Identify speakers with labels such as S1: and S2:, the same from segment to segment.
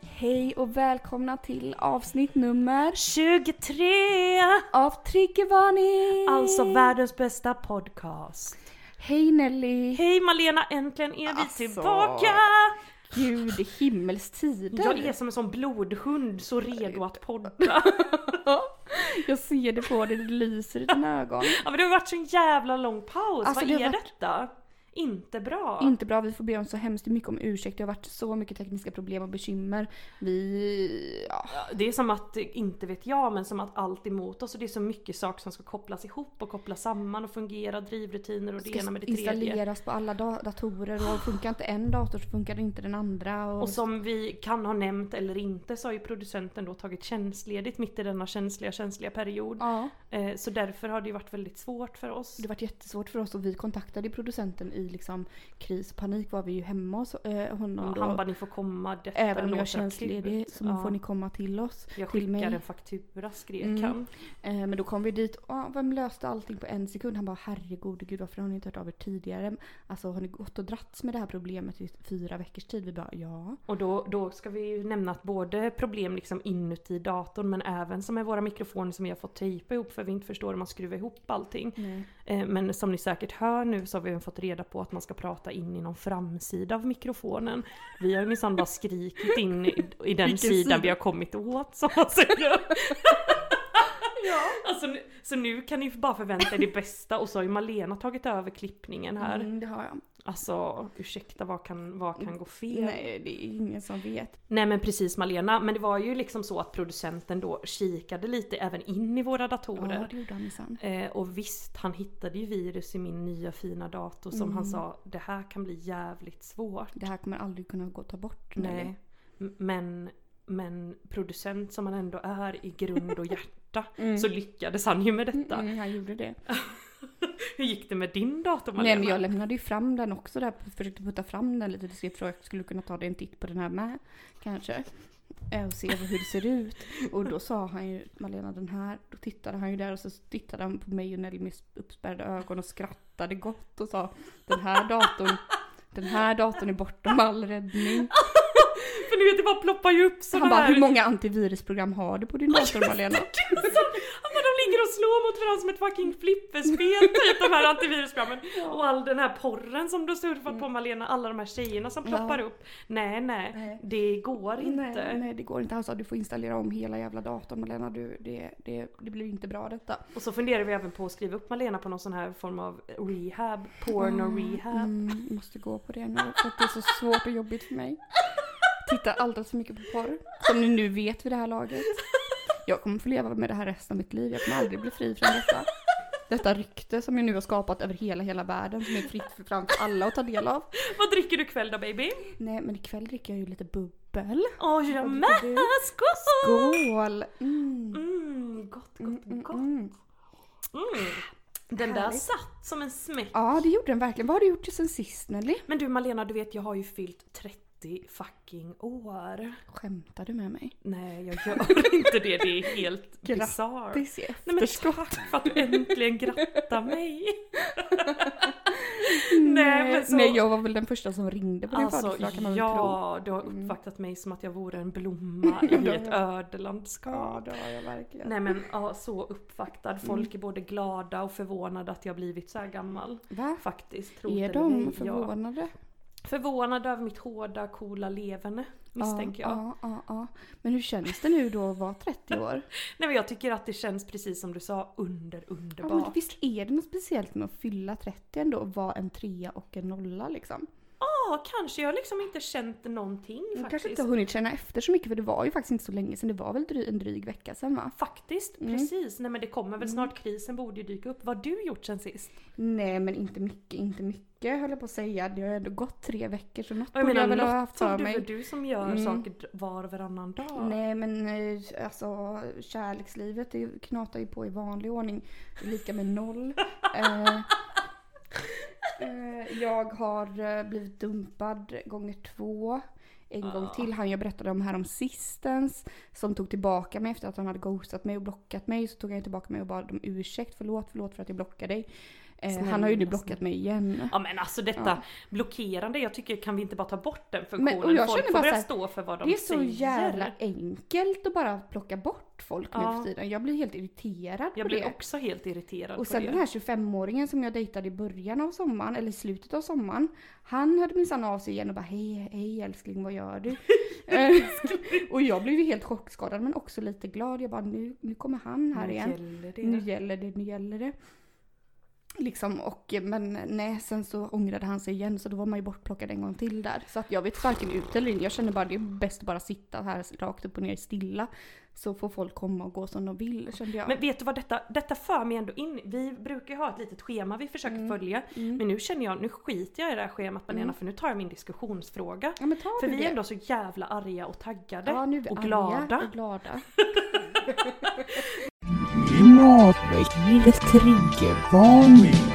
S1: Hej och välkomna till avsnitt nummer
S2: 23!
S1: av Triggervarning!
S2: Alltså världens bästa podcast.
S1: Hej Nelly!
S2: Hej Malena, äntligen är vi
S1: Alltså.
S2: tillbaka!
S1: Gud, i himmelstider!
S2: Jag är som en sån blodhund, så redo att podda.
S1: Jag ser det på dig, det lyser i dina ögon.
S2: Ja, men det har varit så en jävla lång paus,
S1: Alltså,
S2: vad
S1: det har
S2: är
S1: varit- Mm.
S2: detta? Inte bra.
S1: Inte bra, vi får be om så hemskt mycket om ursäkt. Det har varit så mycket tekniska problem och bekymmer. Vi... Ja.
S2: Det är som att, inte vet jag, men som att allt är emot oss och det är så mycket saker som ska kopplas ihop och kopplas samman och fungera, drivrutiner och det ena med det tredje.
S1: installeras på alla da- datorer och funkar inte en dator så funkar inte den andra. Och,
S2: Och som vi kan ha nämnt eller inte så har ju producenten då tagit tjänstledigt mitt i denna känsliga, känsliga period.
S1: Ja,
S2: Eh, Så därför har det ju varit väldigt svårt för oss.
S1: det var jättesvårt för oss och vi kontaktade producenten i liksom kris och panik var vi ju hemma hos eh, honom
S2: Ja,
S1: då.
S2: han bara ni får komma, detta
S1: Även om jag är
S2: låter
S1: tjänstledig
S2: akut.
S1: så
S2: Ja.
S1: får ni komma till oss.
S2: Jag
S1: till mig.
S2: skickar en faktura skrek
S1: Mm.
S2: han.
S1: Eh, Men då kom vi dit och ah, vem löste allting på en sekund? Han bara herregud gud varför har ni inte hört av er tidigare? Alltså har ni gått och dratts med det här problemet i fyra veckors tid? Vi bara ja.
S2: Och då, då ska vi ju nämna att både problem liksom inuti datorn men även som är våra mikrofoner som vi har fått tejpa ihop för vi inte förstår hur man skruvar ihop allting. Eh, Men som ni säkert hör nu så har vi även fått reda på att man ska prata in i någon framsida av mikrofonen. Vi har ju minsann bara skrikit in i, i den
S1: Vilken
S2: sidan vi
S1: sida?
S2: har kommit åt som man säger. Alltså, nu- så nu kan ni bara förvänta er det bästa och så har ju Malena tagit över klippningen här.
S1: Mm, det har jag.
S2: Alltså ursäkta vad kan, vad kan gå fel? Nej.
S1: Nej det är ingen som vet.
S2: men precis Malena, men det var ju liksom så att producenten då kikade lite även in i våra
S1: Ja
S2: datorer.
S1: det gjorde han minsann.
S2: Eh, och visst, han hittade ju virus i min nya fina dator som
S1: Mm.
S2: han sa, det här kan bli jävligt svårt.
S1: Det här kommer aldrig kunna gå att ta bort. Nelly.
S2: Nej. M- Men, men producent som han ändå är i grund och hjärta så lyckades han ju med detta.
S1: Mm, han gjorde det.
S2: Hur gick det med din dator Malena?
S1: Nej men jag lämnade ju fram den också där. Försökte putta fram den lite diskret. Frågade om jag skulle kunna ta dig en titt på den här med. Kanske. Eh, Och se hur det ser ut. Och då sa han ju Malena den här. Då tittade han ju där och så tittade han på mig och Nelly med uppspärrade ögon och skrattade gott och sa Den här datorn. Den här datorn är bortom all räddning.
S2: För ni vet Alltså, det bara ploppar ju upp sådana
S1: Han bara,
S2: här...
S1: hur många antivirusprogram har du på din dator Malena?
S2: Ja, men de ligger och slår mot varandra som ett fucking flipperspel typ de här antivirusprogrammen. Och all den här porren som du har surfat
S1: Mm.
S2: på Malena, alla de här tjejerna som ploppar upp. Nej, nej
S1: Nej.
S2: det går inte.
S1: Nej, nej det går inte. Han sa du får installera om hela jävla datorn Malena. Du, det, det, det blir inte bra detta.
S2: Och så funderar vi även på att skriva upp Malena på någon sån här form av rehab, porn och rehab.
S1: Mm, jag måste gå på det nu för att det är så svårt och jobbigt för mig. Tittar alldeles för mycket på porr. Som ni nu vet vid det här laget. Jag kommer få leva med det här resten av mitt liv. Jag kommer aldrig bli fri från detta. Detta rykte som jag nu har skapat över hela, hela världen som är fritt för- fram för alla att ta del av.
S2: Vad dricker du ikväll då baby?
S1: Nej, men ikväll dricker jag ju lite bubbel.
S2: Åh, oh, jag
S1: Vad
S2: med!
S1: dricker du?
S2: Skål!
S1: Skål! Mm.
S2: Mm, gott, gott,
S1: Mm,
S2: gott.
S1: mm.
S2: Mm. Den där
S1: Härligt.
S2: satt som en smäck.
S1: Ja, det gjorde den verkligen. Vad har du gjort sen sist Nelly?
S2: Men du Malena, du vet jag har ju fyllt 30 fucking år.
S1: Skämtar du med mig?
S2: Nej, jag gör inte det. Det är helt
S1: Grattis. Det
S2: bisarrt.
S1: ser jag.
S2: Nej men tack för att du äntligen grattar mig. Nej men så.
S1: Nej, jag var väl den första som ringde på din
S2: Alltså
S1: födelsedag kan man väl tro. Mm.
S2: ja, du har uppvaktat mig som att jag vore en blomma i ett ödelandskap.
S1: det har jag verkligen.
S2: Nej men ja, så
S1: Mm.
S2: uppvaktad. Folk är både glada och förvånade att jag blivit så här gammal.
S1: Va?
S2: Faktiskt, tro det
S1: Är
S2: eller ej,
S1: de
S2: ja.
S1: förvånade?
S2: Förvånad över mitt hårda, coola leverne misstänker jag.
S1: Ja, ja, ja. Men hur känns det nu då att vara 30 år?
S2: Nej men jag tycker att det känns precis som du sa, under
S1: Ja,
S2: underbart.
S1: men visst är det något speciellt med att fylla 30 ändå och vara en trea och en nolla liksom?
S2: Ja, kanske. Jag har liksom inte känt någonting
S1: Du kanske
S2: faktiskt.
S1: inte har hunnit känna efter så mycket för det var ju faktiskt inte så länge sedan. Det var väl dry, en dryg vecka sedan va?
S2: Faktiskt,
S1: Mm.
S2: precis. Nej men det kommer väl snart. Krisen borde ju dyka upp. Vad har du gjort sen sist?
S1: Nej men inte mycket, inte mycket höll jag på att säga. Det har ändå gått tre veckor så något
S2: Och jag
S1: borde jag
S2: menar
S1: väl ha haft
S2: Lottor,
S1: för
S2: du,
S1: mig.
S2: är du som gör
S1: Mm.
S2: saker d- var och varannan dag.
S1: Nej men eh, alltså kärlekslivet det knatar ju på i vanlig ordning. Det är lika med noll. eh, eh, jag har eh, blivit dumpad gånger två. En gång
S2: Ah.
S1: till. Han jag berättade om här om sistens. Som tog tillbaka mig efter att han hade ghostat mig och blockat mig. Så tog han tillbaka mig och bad om ursäkt. Förlåt, förlåt för att jag blockade dig. Eh, han har ju nu
S2: Snälla,
S1: blockat mig igen.
S2: Ja men alltså detta
S1: Ja.
S2: blockerande, jag tycker kan vi inte bara ta bort den
S1: Men-
S2: funktionen?
S1: och jag
S2: Folk
S1: känner
S2: får
S1: bara
S2: börja
S1: så här,
S2: stå för vad de
S1: Det är
S2: säger.
S1: så jävla enkelt att bara plocka bort folk nu
S2: Ja.
S1: för tiden. Jag blir helt irriterad
S2: Jag
S1: på
S2: blir
S1: det.
S2: också helt irriterad
S1: Och
S2: på
S1: sen
S2: det.
S1: den här 25-åringen som jag dejtade i början av sommaren, eller i slutet av sommaren. Han hörde minsann av sig igen och bara hej, hej älskling vad gör du? Eh, och jag blev ju helt chockskadad men också lite glad. Jag bara nu, nu kommer han här Mm.
S2: Nu
S1: igen.
S2: gäller det.
S1: Nu gäller det, nu gäller det. Liksom och men nej sen så ångrade han sig igen så då var man ju bortplockad en gång till där. Så att jag vet varken ut eller in. Jag känner bara det är bäst att bara sitta här rakt upp och ner stilla. Så får folk komma och gå som de vill kände jag.
S2: Men vet du vad detta, detta för mig ändå in Vi brukar ju ha ett litet schema vi försöker
S1: Mm.
S2: följa. Men nu känner jag, nu skiter jag i det här schemat Malena för nu tar jag min diskussionsfråga.
S1: ja, men ta
S2: För
S1: du
S2: vi
S1: det.
S2: är ändå så jävla arga och taggade.
S1: Ja, nu är vi
S2: och
S1: arga
S2: glada.
S1: Och glada.
S3: Klimatväckningens triggervarning.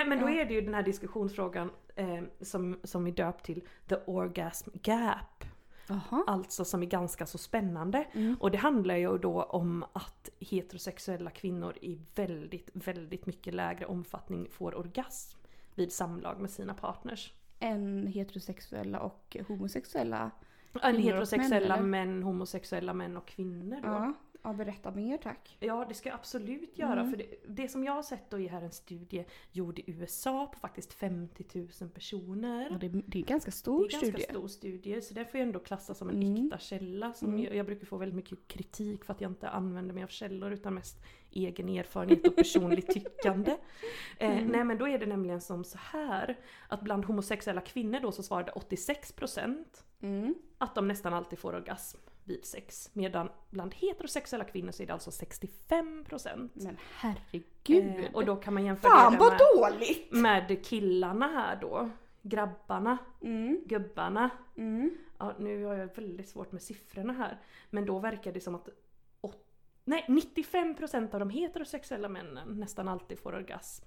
S2: Eh, Men då är det ju den här diskussionsfrågan eh, som, som vi döpt till The Orgasm Gap.
S1: Jaha.
S2: Alltså som är ganska så spännande.
S1: Mm.
S2: Och det handlar ju då om att heterosexuella kvinnor i väldigt, väldigt mycket lägre omfattning får orgasm vid samlag med sina partners.
S1: Än heterosexuella och homosexuella.
S2: En
S1: och
S2: heterosexuella
S1: män,
S2: män, homosexuella män och kvinnor då.
S1: Ja. ja, berätta mer tack.
S2: Ja, det ska jag absolut göra.
S1: Mm.
S2: För det, det som jag har sett då är här en studie gjord i USA på faktiskt 50 000 personer.
S1: Ja, det, det är en ganska
S2: Det är
S1: stor
S2: ganska
S1: studie.
S2: stor studie så det får jag ändå klassa som en
S1: Mm.
S2: äkta källa. Som
S1: Mm.
S2: jag, jag brukar få väldigt mycket kritik för att jag inte använder mig av källor utan mest egen erfarenhet och personligt tyckande. Eh,
S1: Mm.
S2: Nej men då är det nämligen som så här att bland homosexuella kvinnor då så svarade 86%
S1: Mm.
S2: att de nästan alltid får orgasm vid sex. Medan bland heterosexuella kvinnor så är det alltså 65%.
S1: Men herregud.
S2: Eh, och då kan man jämföra
S1: Fan
S2: det
S1: vad
S2: med,
S1: dåligt!
S2: med killarna här då. Grabbarna,
S1: Mm,
S2: gubbarna.
S1: mm.
S2: Ja, nu har jag väldigt svårt med siffrorna här. Men då verkar det som att åt, nej, 95% av de heterosexuella männen nästan alltid får orgasm.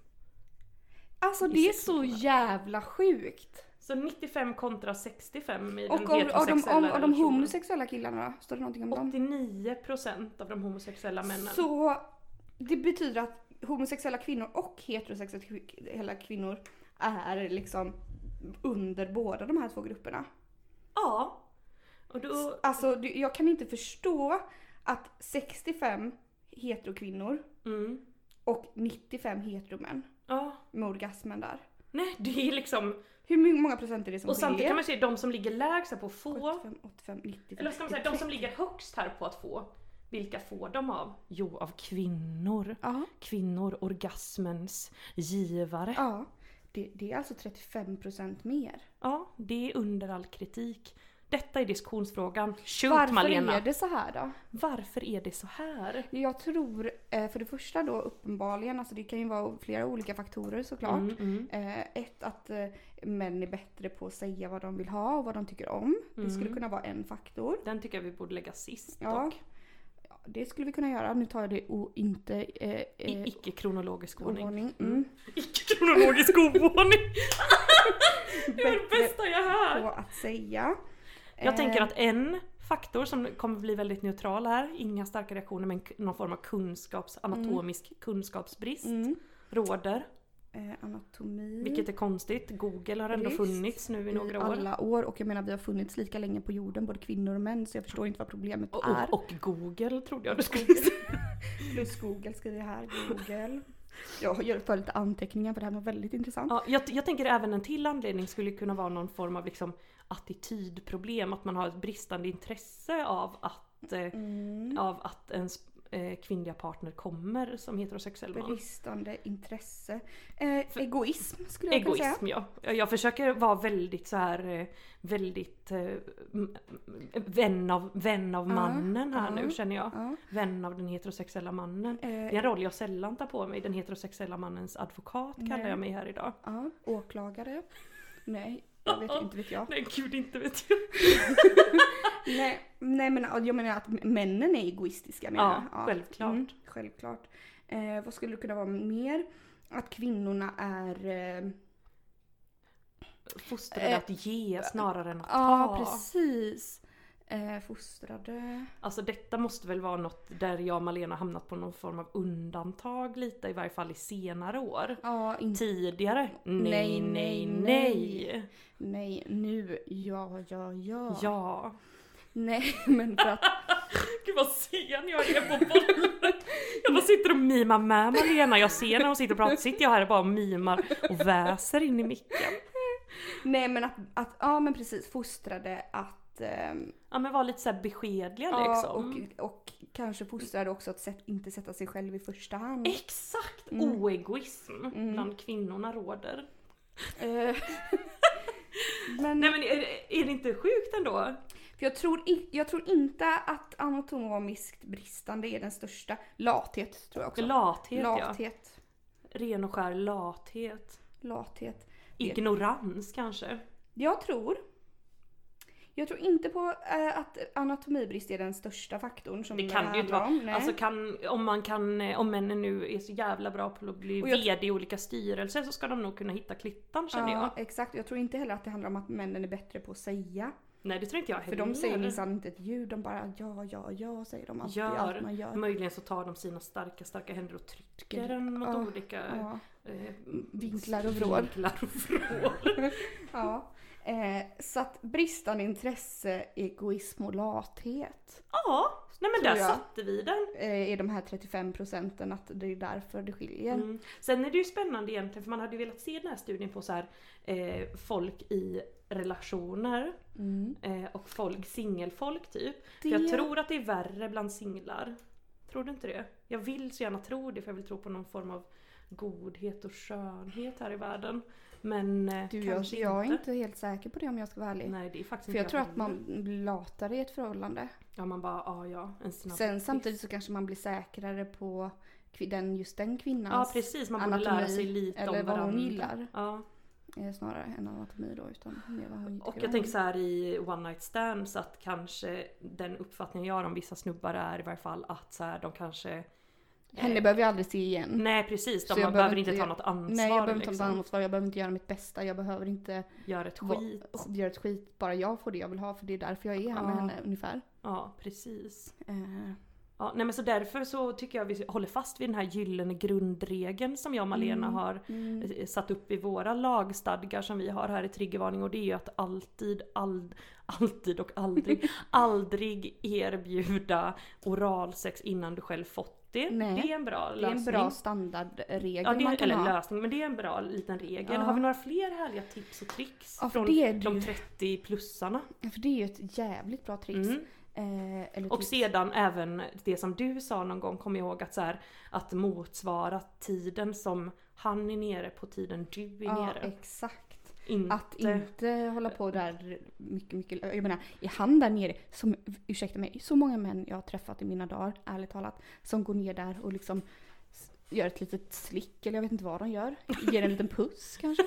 S1: Alltså
S2: I
S1: det är
S2: sex
S1: så
S2: månader.
S1: jävla sjukt.
S2: Så 95 kontra 65 i den
S1: Och av, av, de,
S2: heterosexuella
S1: av, av de
S2: relationen.
S1: homosexuella killarna då? Står det någonting om dem?
S2: 89% av de homosexuella männen.
S1: Så det betyder att homosexuella kvinnor och heterosexuella kvinnor är liksom under båda de här två grupperna.
S2: Ja. Och då,
S1: Alltså du- jag kan inte förstå att 65 heterokvinnor
S2: mm,
S1: och 95 heteromän
S2: ja.
S1: med orgasmen där.
S2: Nej, det är liksom...
S1: Hur my- många procent är det som
S2: Och samtidigt kan
S1: sker?
S2: man se de som ligger lägst här på att få.
S1: 75, 85, 95.
S2: Eller vad ska man säga, de som ligger högst här på att få. Vilka får de av? Jo, av kvinnor.
S1: Ja,
S2: kvinnor orgasmens givare. Ja.
S1: ja. Det, det är alltså 35 procent mer.
S2: det är under all kritik. Detta är diskussionsfrågan. Shoot
S1: Varför
S2: Malena!
S1: är det så här då?
S2: Varför är det så här?
S1: Jag tror eh, för det första då uppenbarligen, alltså det kan ju vara flera olika faktorer såklart.
S2: Mm, mm,
S1: Eh, ett, att eh, män är bättre på att säga vad de vill ha och vad de tycker om. Det skulle
S2: Mm.
S1: kunna vara en faktor.
S2: Den tycker jag vi borde lägga sist
S1: Ja.
S2: dock.
S1: Ja, Det skulle vi kunna göra. Nu tar jag det o, inte eh,
S2: I
S1: eh,
S2: icke-kronologisk ordning.
S1: ordning.
S2: Mm.
S1: Mm.
S2: Icke-kronologisk ordning! Det är det
S1: Bättre
S2: bästa jag hör!
S1: på att säga.
S2: Jag tänker
S1: Eh,
S2: att en faktor som kommer bli väldigt neutral här, inga starka reaktioner men k- någon form av kunskaps, anatomisk kunskapsbrist
S1: mm,
S2: råder.
S1: eh, anatomi.
S2: Vilket är konstigt. Google har ändå
S1: Mm. Visst. Mm,
S2: funnits nu i några år.
S1: alla år och jag menar vi har funnits lika länge på jorden, både kvinnor och män, så jag förstår inte vad problemet
S2: Och,
S1: är.
S2: och, och Google trodde jag du skulle säga.
S1: Plus Google skriver jag här, Google. Jag gör för lite anteckningar för det här var väldigt intressant.
S2: Ja, jag, jag tänker även en till anledning skulle kunna vara någon form av liksom attitydproblem. Att man har ett bristande intresse av att, eh,
S1: Mm.
S2: av att ens eh, kvinnliga partner kommer som heterosexuell man.
S1: Bristande intresse. Eh,
S2: För-
S1: egoism skulle jag kunna säga.
S2: Egoism ja. Jag jag försöker vara väldigt så här eh, väldigt eh, m- m- vän av, vän av
S1: Ja,
S2: mannen här
S1: ja,
S2: nu känner jag.
S1: Ja.
S2: Vän av den heterosexuella mannen. Det är
S1: Eh,
S2: en roll jag sällan tar på mig. Den heterosexuella mannens advokat kallar
S1: Nej.
S2: jag mig här idag.
S1: ja. Åklagare. Nej, jag vet inte vet jag.
S2: Nej gud inte vet jag.
S1: Nej, nej men ja, jag menar att männen är egoistiska menar
S2: Ja,
S1: jag.
S2: självklart.
S1: Mm, självklart. Eh, vad skulle det kunna vara mer? Att kvinnorna är... Eh,
S2: Fostrade
S1: Eh,
S2: att ge snarare än att
S1: ja,
S2: ta.
S1: precis. Eh, fostrade.
S2: Alltså detta måste väl vara något där jag och Malena hamnat på någon form av undantag lite i varje fall i senare år.
S1: Ja, inte...
S2: Tidigare? Nej,
S1: Nej, nej,
S2: nej, nej.
S1: Nej, nu. Ja, ja, ja.
S2: Ja.
S1: Nej, men för att...
S2: Gud vad sen jag är på bollen. Jag bara sitter och mimar med Malena. Jag ser när hon sitter och pratar. Sitter jag här och bara mimar och väser in i micken.
S1: nej, men att, att... Ja, men precis. Fostrade att... ehm,
S2: Ja men var lite så här beskedliga
S1: ja,
S2: liksom.
S1: och, och kanske fostrade också att sätt, inte sätta sig själv i första hand.
S2: Exakt!
S1: Mm.
S2: Oegoism bland kvinnorna råder.
S1: Eh, men...
S2: Nej men är, är det inte sjukt ändå?
S1: För jag, tror i, jag tror inte att anatomiskt bristande är den största. Lathet tror jag också.
S2: Lathet, ja.
S1: lathet.
S2: Ren och skär lathet.
S1: Lathet.
S2: Ignorans kanske.
S1: Jag tror... Jag tror inte på eh, att anatomibrist är den största faktorn som
S2: Det kan det ju inte
S1: handlar
S2: vara.
S1: om, nej.
S2: Alltså kan, om, man kan, eh, om männen nu är så jävla bra på att bli
S1: Och jag-
S2: VD i olika styrelser så ska de nog kunna hitta klittan känner jag.
S1: ja, exakt. Jag tror inte heller att det handlar om att männen är bättre på att säga.
S2: Nej det tror inte jag
S1: För
S2: heller.
S1: de säger minsann inte ett ljud. De bara ja, ja, ja säger de alltid. Allt
S2: gör,
S1: man gör.
S2: Möjligen så tar de sina starka, starka händer och trycker den mot
S1: Ja,
S2: olika
S1: Ja.
S2: eh,
S1: Vinklar och vrår.
S2: Vinklar och vrår.
S1: ja. Eh, så att bristande intresse, egoism och lathet.
S2: ja, nej men
S1: Tror
S2: där
S1: jag.
S2: satte vi den.
S1: eh, i de här 35 procenten att det är därför det skiljer.
S2: Mm. Sen är det ju spännande egentligen för man hade ju velat se den här studien på så här, eh, folk i relationer eh, och folk, singelfolk typ. För Jag
S1: Det-
S2: tror att det är värre bland singlar. Tror du inte det? Jag vill så gärna tro det för jag vill tro på någon form av godhet och skönhet här i världen. Men eh,
S1: Du, jag,
S2: kanske
S1: jag är
S2: inte.
S1: inte helt säker på det om jag ska vara ärlig.
S2: Nej det är faktiskt
S1: För
S2: inte
S1: jag tror att
S2: heller.
S1: man blir latare i ett förhållande.
S2: Ja man bara ja ja, en snabb
S1: Sen samtidigt så kanske man blir säkrare på kvi- den, just den kvinnans
S2: Ja precis, man borde lära sig lite
S1: eller vad
S2: om varandra.
S1: hon gillar.
S2: Ja.
S1: Eh, snarare än anatomi då utan mer vad hon
S2: Och jag tänker så här i one night stands att kanske den uppfattningen jag har om vissa snubbar är i varje fall att så här, de kanske...
S1: Henne behöver jag aldrig se igen.
S2: Nej precis,
S1: Så
S2: de,
S1: jag
S2: Mm. man behöver
S1: behöver
S2: inte
S1: inte-
S2: ta något ansvar.
S1: Nej, jag behöver inte ta
S2: liksom.
S1: ansvar, jag behöver inte göra mitt bästa, jag behöver inte
S2: Gör ett
S1: Va-
S2: skit.
S1: göra ett skit. Bara jag får det jag vill ha för det är därför jag är här med
S2: Ja.
S1: henne ungefär.
S2: Ja precis.
S1: Eh,
S2: Ja, nej men så därför så tycker jag vi håller fast vid den här gyllene grundregeln som jag och Malena
S1: Mm,
S2: har eh, satt upp i våra lagstadgar som vi har här i triggervarning och det är ju att alltid, all, alltid och aldrig, aldrig erbjuda oralsex innan du själv fått det.
S1: Nej.
S2: det är en bra
S1: Det är
S2: lösning.
S1: en bra standardregel
S2: Ja, det
S1: man
S2: är,
S1: kan
S2: eller en
S1: ha.
S2: lösning, men det är en bra liten regel.
S1: Ja.
S2: Har vi några fler härliga tips och tricks
S1: Ja, för
S2: från
S1: det är det
S2: de
S1: ju.
S2: 30 plussarna?
S1: För det är ju ett jävligt bra tricks.
S2: Mm.
S1: Eh, eller
S2: Och
S1: tips.
S2: sedan även det som du sa någon gång, kom ihåg att, så här, att motsvara tiden som han är nere på tiden du är
S1: ja,
S2: nere.
S1: exakt.
S2: Inte,
S1: Att inte hålla på där mycket, mycket. Jag menar, i han där nere, som, ursäkta mig, så många män jag har träffat i mina dagar, ärligt talat, som går ner där och liksom s- gör ett litet slick eller jag vet inte vad de gör. Ger en liten puss kanske.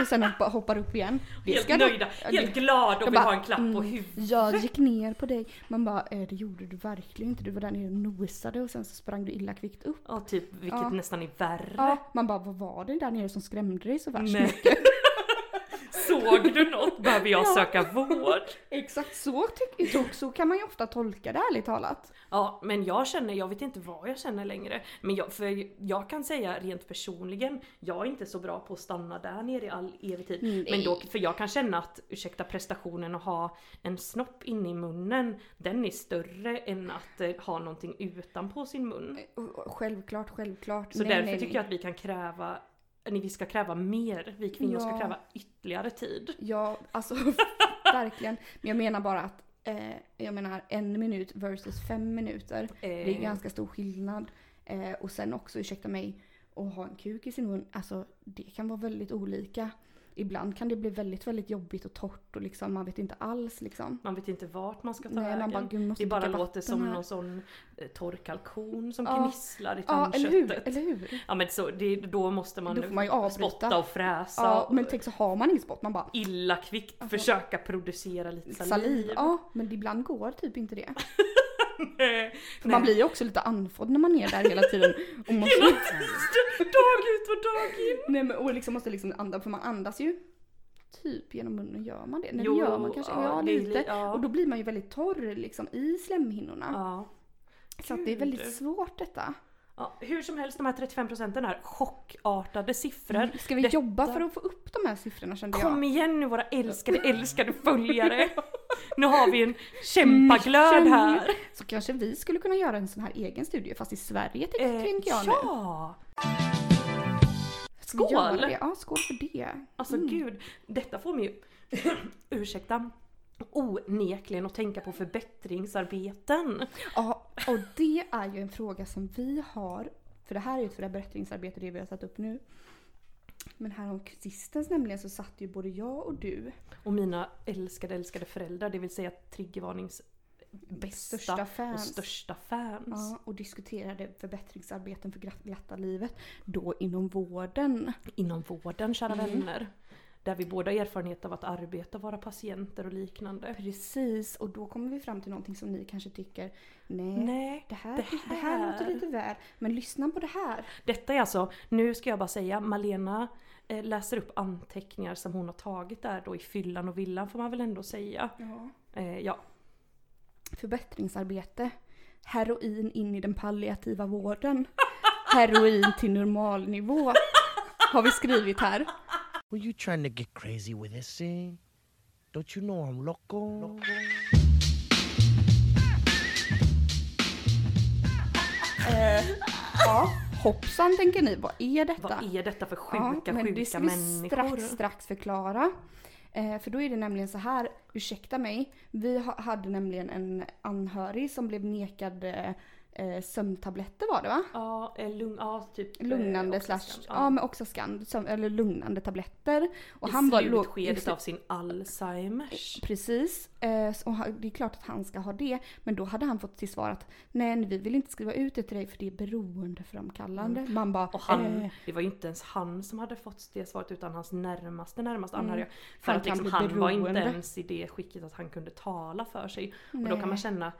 S1: Och sen hoppa, hoppar upp igen. Det
S2: helt
S1: ska de-
S2: nöjda,
S1: ja, det-
S2: helt glada och
S1: de
S2: vill
S1: bara,
S2: ha en klapp på
S1: mm.
S2: huvudet.
S1: Jag gick ner på dig. Man bara, eh, det gjorde du verkligen inte. Du var där nere och nosade och sen så sprang du illa kvickt upp.
S2: Ja, typ, vilket
S1: Ja.
S2: nästan är värre.
S1: Ja, man bara, vad var det där nere som skrämde dig så värst?
S2: Nej. Såg du något? Behöver jag
S1: Ja.
S2: söka vård?
S1: Exakt så tycker jag. Så kan man ju ofta tolka det ärligt talat.
S2: Ja, men jag känner, jag vet inte vad jag känner längre. Men jag, för jag kan säga rent personligen, jag är inte så bra på att stanna där nere i all evig tid.
S1: Mm, Nej.
S2: Men då, för jag kan känna att, ursäkta prestationen att ha en snopp inne i munnen, den är större än att eh, ha någonting utanpå sin mun.
S1: Och- och Självklart, självklart.
S2: Så därför tycker jag att vi kan kräva, nej, vi ska kräva mer. Vi kvinnor ska
S1: Ja.
S2: kräva ytterligare tid.
S1: Ja, alltså verkligen. Men jag menar bara att Eh, jag menar en minut versus fem minuter.
S2: Eh.
S1: Det är ganska stor skillnad. Eh, och sen också, ursäkta mig, att ha en kuk i sin mun, alltså det kan vara väldigt olika. Ibland kan det bli väldigt, väldigt jobbigt och torrt och liksom man vet inte alls liksom.
S2: Man vet inte vart man ska ta
S1: Nej,
S2: vägen.
S1: man bara, gud, måste
S2: det bara
S1: dricka
S2: låter
S1: vatten
S2: som
S1: här.
S2: någon sån eh, torr kalkon som
S1: Ja.
S2: gnisslar i
S1: Ja, eller hur?
S2: tandköttet.
S1: Eller hur?
S2: Ja men så, det, då måste man,
S1: Då får man ju avbryta.
S2: spotta och fräsa.
S1: Ja,
S2: och
S1: men tänk så har man ingen spott, man bara
S2: Illa kvickt
S1: Alltså-
S2: försöka producera lite
S1: saliv.
S2: saliv.
S1: Ja, men ibland går typ inte det.
S2: Nej.
S1: För man blir ju också lite andfådd när man är där hela tiden. Och måste,
S2: Hela tiden, dag ut och dag in.
S1: nej, men, och liksom måste liksom andas, för man andas ju typ genom munnen. Gör man det? Nej,
S2: Jo,
S1: det gör man kanske.
S2: ja,
S1: Ja,
S2: det är li-
S1: lite.
S2: ja.
S1: Och då blir man ju väldigt torr liksom i slemhinnorna.
S2: Ja.
S1: Så att det är väldigt
S2: Gud.
S1: svårt detta.
S2: Ja, hur som helst, de här 35 procenten är chockartade siffror.
S1: Ska vi
S2: Detta-
S1: jobba för att få upp de här siffrorna kände jag.
S2: Kom igen nu våra älskade, älskade följare. Nu har vi en
S1: Mm.
S2: kämpaglöd här.
S1: Så kanske vi skulle kunna göra en sån här egen studie fast i Sverige tänk- tänker jag nu.
S2: Eh, ja!
S1: Ska vi göra
S2: skål!
S1: det? Ja, skål för det.
S2: Alltså gud, detta får mig ju, ursäkta, onekligen att tänka på förbättringsarbeten.
S1: Ja, och det är ju en fråga som vi har. För det här är ju ett förbättringsarbete det vi har satt upp nu. Men här sistens nämligen så satt ju både jag och du
S2: Och mina älskade, älskade föräldrar, det vill säga triggervarnings bästa
S1: största
S2: och
S1: fans.
S2: största fans.
S1: Ja, och diskuterade förbättringsarbeten för glatt- glatta livet. Då inom vården.
S2: Inom vården, kära
S1: Mm.
S2: vänner. Där vi båda har erfarenhet av att arbeta, våra patienter och liknande.
S1: Precis, och då kommer vi fram till någonting som ni kanske tycker nej,
S2: Nej,
S1: det, här,
S2: det
S1: det, här. låter
S2: här."
S1: lite väl, men lyssna på det här.
S2: Detta är alltså, nu ska jag bara säga, Malena eh, läser upp anteckningar som hon har tagit där då i fyllan och villan får man väl ändå säga. Eh, ja,
S1: Förbättringsarbete. Heroin in i den palliativa vården. Heroin till normalnivå. Har vi skrivit här.
S4: Were you trying to get crazy with this thing? Don't you know I'm loco?
S1: Ja, hoppsan tänker ni, vad är detta?
S2: vad är detta för sjuka,
S1: men det
S2: sjuka
S1: ska vi
S2: människor?
S1: strax, strax förklara. Eh, för då är det nämligen så här, ursäkta mig. Vi ha, hade nämligen en anhörig som blev nekad eh, sömntabletter var det va?
S2: Ja, eh, lugn, ja, typ. eh,
S1: Lugnande slash,
S2: Oxascan.
S1: ja men också skand, sömn, eller lugnande tabletter. Och
S2: I
S1: han var låg-
S2: slutskedet av sin Alzheimers.
S1: Precis. Eh, så- och han- det är klart att han ska ha det. Men då hade han fått till svar att nej vi vill inte skriva ut det till dig för det är beroendeframkallande. Man bara
S2: Mm. Och han,
S1: eh,
S2: det var ju inte ens han som hade fått det svaret utan hans närmaste närmaste anhöriga. För
S1: Mm. Han
S2: att
S1: kan
S2: liksom,
S1: bli
S2: han var inte
S1: beroende.
S2: ens i det skicket att han kunde tala för sig. Och då
S1: Nej.
S2: kan man känna,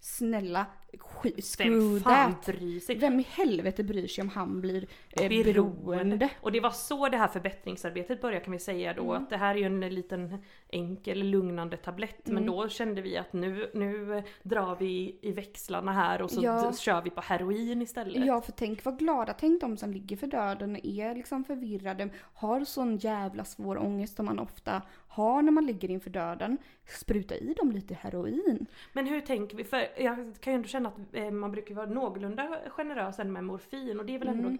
S1: snälla sk-
S2: vem
S1: screw
S2: fan
S1: that.
S2: bryr sig?
S1: Vem i helvete bryr sig om han blir eh, beroende?
S2: beroende. Och det var så det här förbättringsarbetet började kan vi säga då.
S1: Mm.
S2: Att det här är ju en liten enkel lugnande tablett.
S1: Mm.
S2: Men då kände vi att nu, nu eh, drar vi i växlarna här och så
S1: Ja.
S2: d- kör vi på heroin istället.
S1: Ja för tänk vad glada, tänk de som ligger för döden, är liksom förvirrade, har sån jävla svår ångest som man ofta har när man ligger inför döden. Spruta i dem lite heroin.
S2: Men hur tänker vi? För jag kan ju ändå känna att eh, man brukar ju vara någorlunda generös ändå med morfin och det är väl ändå eh,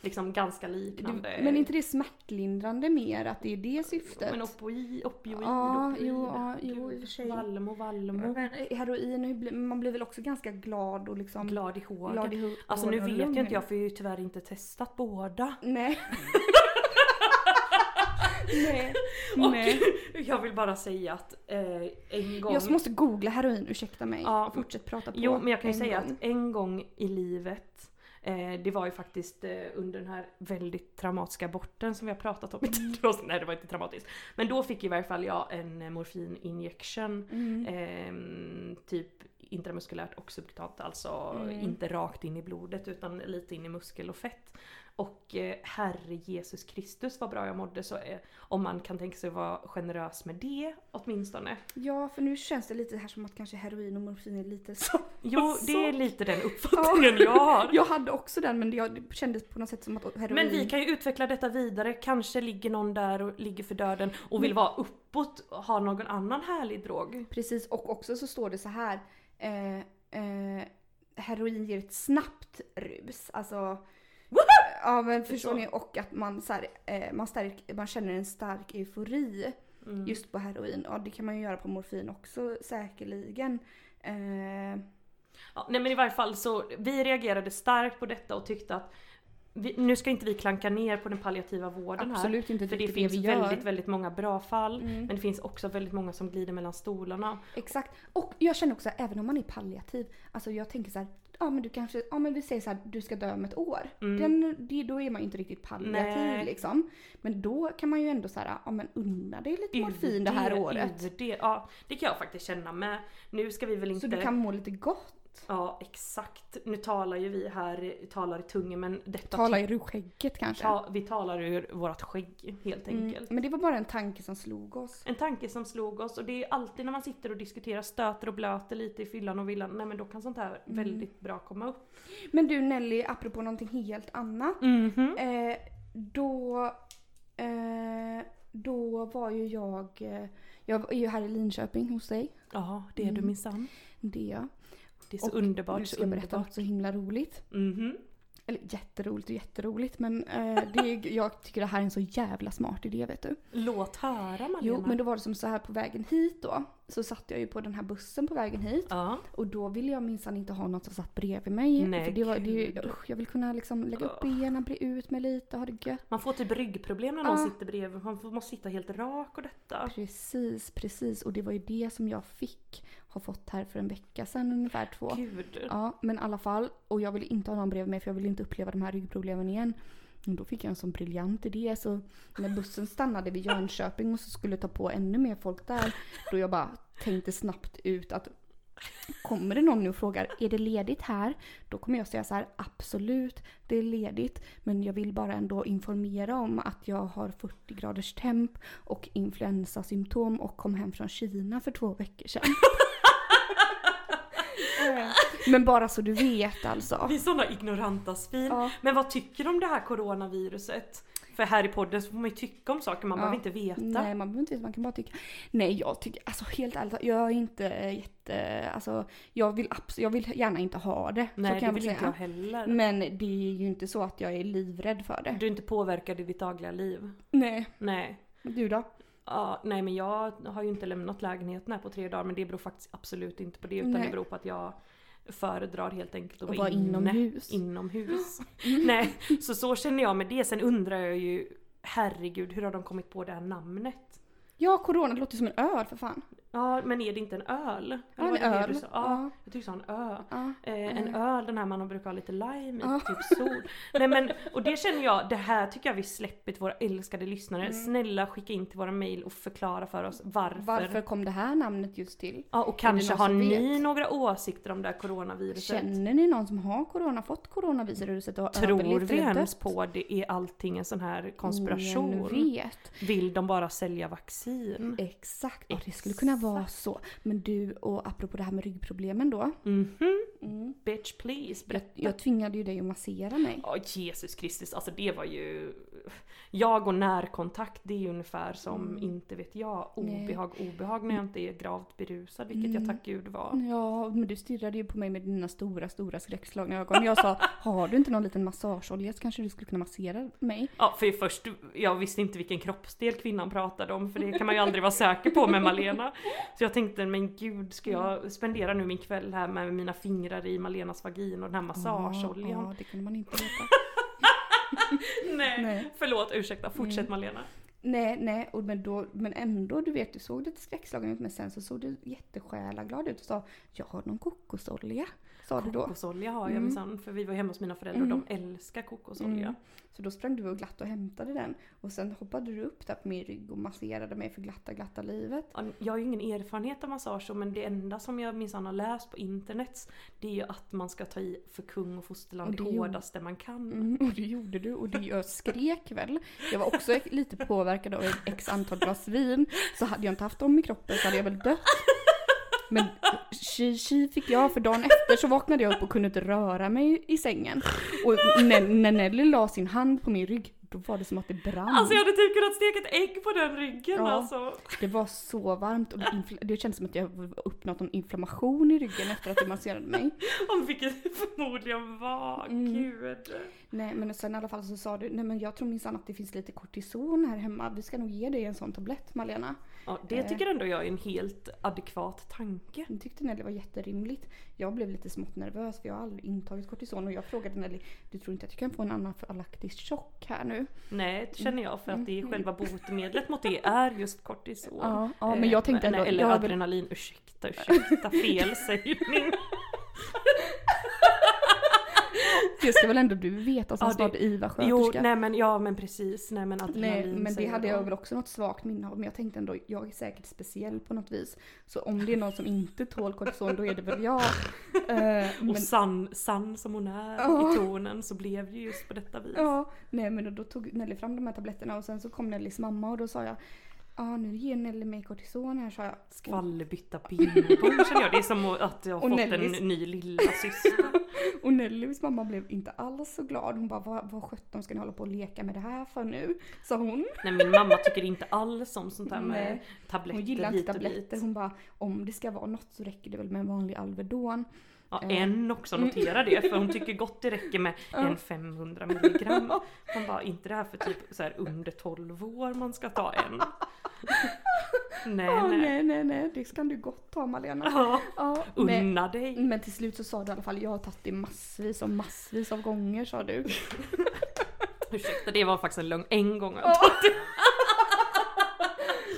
S2: liksom ganska liknande.
S1: Mm. Men är inte det smärtlindrande mer att det är det syftet?
S2: Men opoi, opioid,
S1: Ja,
S2: opioid.
S1: jo, ja, jo, i och för sig.
S2: Valmo, Valmo.
S1: Men heroin, hur blir- man blir väl också ganska glad och liksom...
S2: Glad i hågen.
S1: Glad i hågen
S2: Alltså nu
S1: och
S2: vet
S1: lugn.
S2: ju inte jag för jag har ju tyvärr inte testat båda.
S1: Nej. Nej. Nej.
S2: Och jag vill bara säga att eh, en gång...
S1: Jag måste googla heroin, ursäkta mig.
S2: Ja.
S1: Fortsätt prata på.
S2: Jo men jag kan ju
S1: en
S2: säga
S1: gång.
S2: att en gång i livet eh, det var ju faktiskt eh, under den här väldigt traumatiska aborten som vi har pratat om i
S1: Mm.
S2: tidigare avsnitt. Nej det var inte traumatiskt. Men då fick i varje fall jag en eh, morfininjection.
S1: Mm.
S2: ehm, typ intramuskulärt och subkutant. Alltså
S1: Mm.
S2: inte rakt in i blodet utan lite in i muskel och fett. Och eh, Herre Jesus Kristus vad bra jag mådde så eh, om man kan tänka sig att vara generös med det åtminstone.
S1: Ja, för nu känns det lite här som att kanske heroin och morfin är lite så.
S2: Jo
S1: Så-
S2: det är lite den uppfattningen jag har.
S1: Jag hade också den men jag det kändes på något sätt som att heroin...
S2: Men vi kan ju utveckla detta vidare. Kanske ligger någon där och ligger för döden och
S1: Mm.
S2: vill vara uppåt och ha någon annan härlig drog.
S1: Precis, och också så står det så här. Eh, eh, heroin ger ett snabbt rus. Alltså... Ja men förstår
S2: Så.
S1: ni? Och att man, så här, eh, man, stärk, man känner en stark eufori.
S2: Mm.
S1: Just på heroin. Ja, det kan man ju göra på morfin också säkerligen. Eh,
S2: Ja, nej men i varje fall så, vi reagerade starkt på detta och tyckte att vi, nu ska inte vi klanka ner på den palliativa vården
S1: absolut inte
S2: här. För det
S1: riktigt
S2: finns
S1: vi gör.
S2: väldigt, väldigt många bra fall.
S1: Mm.
S2: Men det finns också väldigt många som glider mellan stolarna.
S1: Exakt. Och jag känner också, även om man är palliativ, alltså jag tänker så här, ja men du kanske, ja men vi säger så här, du ska dö om ett år.
S2: Mm.
S1: Den, det, då är man ju inte riktigt palliativ
S2: Nej.
S1: liksom. Men då kan man ju ändå så här, ja men unna dig lite morfin det här
S2: UD,
S1: året.
S2: UD, ja, det kan jag faktiskt känna med. Nu ska vi väl inte...
S1: Så du kan må lite gott.
S2: Ja, exakt. Nu talar ju vi här, talar i tungen men detta...
S1: Tala ur skägget kanske.
S2: ta, vi talar ur vårat skägg helt enkelt.
S1: Mm, men det var bara en tanke som slog oss.
S2: En tanke som slog oss och det är alltid när man sitter och diskuterar stöter och blöter lite i fyllan och villan, nej men då kan sånt här
S1: Mm.
S2: väldigt bra komma upp.
S1: Men du Nelly, apropå någonting helt annat.
S2: Mm-hmm.
S1: Eh, då, eh, då var ju jag, eh, jag är ju här i Linköping hos dig.
S2: Ja, det är du
S1: Mm.
S2: minsann.
S1: Det är jag.
S2: Det är så
S1: Och
S2: underbart.
S1: Nu
S2: Så
S1: ska jag berätta
S2: underbart.
S1: något så himla roligt.
S2: Mhm.
S1: Eller jätteroligt och jätteroligt men eh, det, jag tycker det här är en så jävla smart idé vet du.
S2: Låt höra Malena.
S1: Jo men då var det som så här på vägen hit då. Så satt jag ju på den här bussen på vägen hit.
S2: Ja.
S1: Och då ville jag minsann inte ha något som satt bredvid mig.
S2: Nej,
S1: för det var, det,
S2: gud.
S1: usch, jag vill kunna liksom lägga upp
S2: Ugh.
S1: benen, bre ut mig lite, ha det gött.
S2: Man får typ ryggproblem när någon
S1: Ja.
S2: sitter bredvid, man får, måste sitta helt rak och detta.
S1: Precis, precis. Och det var ju det som jag fick. Har fått här för en vecka sedan ungefär två.
S2: Gud.
S1: Ja, men i alla fall. Och jag vill inte ha någon bredvid mig för jag vill inte uppleva de här ryggproblemen igen. Och då fick jag en sån briljant idé så när bussen stannade vid Jönköping och så skulle ta på ännu mer folk där. Då jag bara tänkte snabbt ut att kommer det någon nu och frågar är det ledigt här? Då kommer jag säga så här absolut det är ledigt men jag vill bara ändå informera om att jag har 40 graders temp och influensasymptom och kom hem från Kina för två veckor sedan. Eh, men bara så du vet alltså.
S2: Vi är sådana ignoranta svin.
S1: Ja.
S2: Men vad tycker du om det här coronaviruset? För här i podden så får man ju tycka om saker man
S1: Ja.
S2: behöver inte veta.
S1: Nej man behöver inte veta, man kan bara tycka. Nej jag tycker, alltså helt ärligt, jag är inte eh, jätte, alltså jag vill absolut, jag vill gärna inte ha det. så
S2: Nej,
S1: kan
S2: det vill
S1: väl
S2: inte jag heller.
S1: Men det är ju inte så att jag är livrädd för det.
S2: Du är inte påverkad i ditt dagliga liv.
S1: Nej,
S2: Nej.
S1: du då?
S2: Ja, nej men jag har ju inte lämnat lägenheten här på tre dagar men det beror faktiskt absolut inte på det utan
S1: Nej.
S2: det beror på att jag föredrar helt enkelt att
S1: Och vara
S2: vara inne,
S1: inomhus.
S2: Inomhus. nej, så så känner jag med det. Sen undrar jag ju herregud hur har de kommit på det här namnet?
S1: Ja corona det låter som en öl för fan.
S2: Ja men är det inte en öl? Eller
S1: Ja, en
S2: var det det
S1: öl.
S2: du sa? Ja,
S1: Ja.
S2: jag tyckte du sa en ö.
S1: Ja. Mm.
S2: Eh, en öl, den här man brukar ha lite lime i,
S1: Ja.
S2: typ sol. Nej men, och det känner jag, det här tycker jag vi släpper till våra älskade lyssnare.
S1: Mm.
S2: Snälla skicka in till våra mail och förklara för oss varför.
S1: Varför kom det här namnet just till?
S2: Ja, och kanske
S1: någon
S2: har
S1: som
S2: ni
S1: vet?
S2: några åsikter om det här coronaviruset.
S1: Känner ni någon som har corona, fått coronaviruset och har
S2: Tror
S1: överlevt
S2: vi
S1: eller
S2: ens
S1: dött?
S2: på det? Är allting en sån här
S1: Ingen
S2: konspiration?
S1: vet.
S2: Vill de bara sälja vaccin?
S1: Exakt, ja, det skulle kunna vara så. Men du, och apropå det här med ryggproblemen då.
S2: Mhm. Bitch please,
S1: Jag,
S2: berätta.
S1: jag tvingade ju dig att massera mig.
S2: Ja, Jesus Kristus, alltså det var ju... Jag och närkontakt, det är ju ungefär som, inte vet jag,
S1: Mm. Nej. Mm.
S2: obehag, obehag när jag inte är gravt berusad, vilket jag tack gud var.
S1: Ja, men du stirrade ju på mig med dina stora, stora skräckslagna ögon. Jag sa, har du inte någon liten massageolja så kanske du skulle kunna massera mig.
S2: Ja, för först, jag visste inte vilken kroppsdel kvinnan pratade om, för det kan man ju aldrig vara säker på med Malena. Så jag tänkte, men gud, ska
S1: Mm.
S2: jag spendera nu min kväll här med mina fingrar i Malenas vagin och den här massageoljan?
S1: Ja, det kunde man inte veta.
S2: Nej.
S1: Nej. Mm.
S2: förlåt, ursäkta, fortsätt Malena.
S1: nej, nej, och men, då, men ändå, du vet, du såg lite skräckslagen ut men sen så såg du jättesjälaglad ut och sa, jag har någon kokosolja. Sa du då.
S2: Kokosolja har jag minsann, för vi var hemma hos mina föräldrar och de älskar kokosolja.
S1: Mm. Så då sprang du och glatt och hämtade den. Och sen hoppade du upp där på min rygg och masserade mig för glatta, glatta livet.
S2: Ja, Jag har ju ingen erfarenhet av massage så, men det enda som jag minsann har läst på internet det är ju att man ska ta i för kung och
S1: Och det
S2: fosterland det
S1: gjorde-
S2: hårdaste man kan.
S1: Mm, och det gjorde du och det, jag skrek väl. Jag var också lite påverkad av x antal glas vin. Så hade jag inte haft dem i kroppen så hade jag väl dött. Men tji tji fick jag för dagen efter så vaknade jag upp och kunde inte röra mig i sängen. Och när, när Nelly la sin hand på min rygg Då var det som att det brann.
S2: Alltså jag hade typ kunnat steka ett ägg på den ryggen
S1: Ja.
S2: alltså.
S1: Det var så varmt och det, infl- det kändes som att jag uppnått någon inflammation i ryggen efter att du masserade mig.
S2: Om vilket det förmodligen var.
S1: Mm.
S2: Gud.
S1: Nej men sen i alla fall så sa du, nej men jag tror minsann att det finns lite kortison här hemma. Vi ska nog ge dig en sån tablett Malena.
S2: Ja,
S1: Eh.
S2: det tycker ändå jag är en helt adekvat tanke.
S1: Jag tyckte Nelly var jätterimligt. Jag blev lite smått nervös för jag har aldrig intagit kortison och jag frågade Nelly, du tror inte att jag kan få en anafylaktisk chock här nu?
S2: Nej, det känner jag för att det är själva botemedlet mot det är just kortison.
S1: Mm. Ja, ja, men
S2: Eh,
S1: jag tänkte
S2: nej,
S1: ändå,
S2: Eller
S1: jag vill-
S2: adrenalin, ursäkta, ursäkta, fel sägning.
S1: Det ska väl ändå du veta som
S2: Ja, det-
S1: snart
S2: Jo,
S1: IVA-sköterska.
S2: nej men ja men precis, nej men adrenalin
S1: Nej, men det
S2: säger
S1: hade
S2: jag.
S1: jag väl också något svagt minne av. Men jag tänkte ändå, jag är säkert speciell på något vis. Så om det är någon som inte tål kortison, då är det väl jag. Eh, men,
S2: Och sann san som hon är
S1: Ja.
S2: i tonen så blev det just på detta vis.
S1: ja, nej, men då, då tog Nelly fram de här tabletterna och sen så kom Nellys mamma och då sa jag Ja nu ger Nelly mig kortison här sa jag.
S2: Skvallerbytta bingo känner jag. Det är som att jag har
S1: Och
S2: fått
S1: Nellis.
S2: en ny lilla syster.
S1: Och Nellys mamma blev inte alls så glad. Hon bara vad, vad sjutton ska ni hålla på och leka med det här för nu? Sa hon.
S2: Nej min mamma tycker inte alls om sånt här med
S1: Nej,
S2: tabletter
S1: Hon gillar
S2: hit
S1: inte
S2: och
S1: tabletter.
S2: dit.
S1: Hon bara om det ska vara något så räcker det väl med en vanlig Alvedon.
S2: Ja,
S1: Eh.
S2: en också,
S1: Mm.
S2: notera det. För hon tycker gott det räcker med en 500 milligram. Hon bara, inte det här för typ så här under 12 år man ska ta en. Nej,
S1: Ja,
S2: nej.
S1: nej nej nej det kan du gott ta Malena.
S2: Ja,
S1: Ja, men,
S2: unna dig.
S1: men till slut så sa du i alla fall jag har tagit det massvis och massvis av gånger sa du.
S2: Ursäkta, det var faktiskt en lögn. En gång har jag tagit det.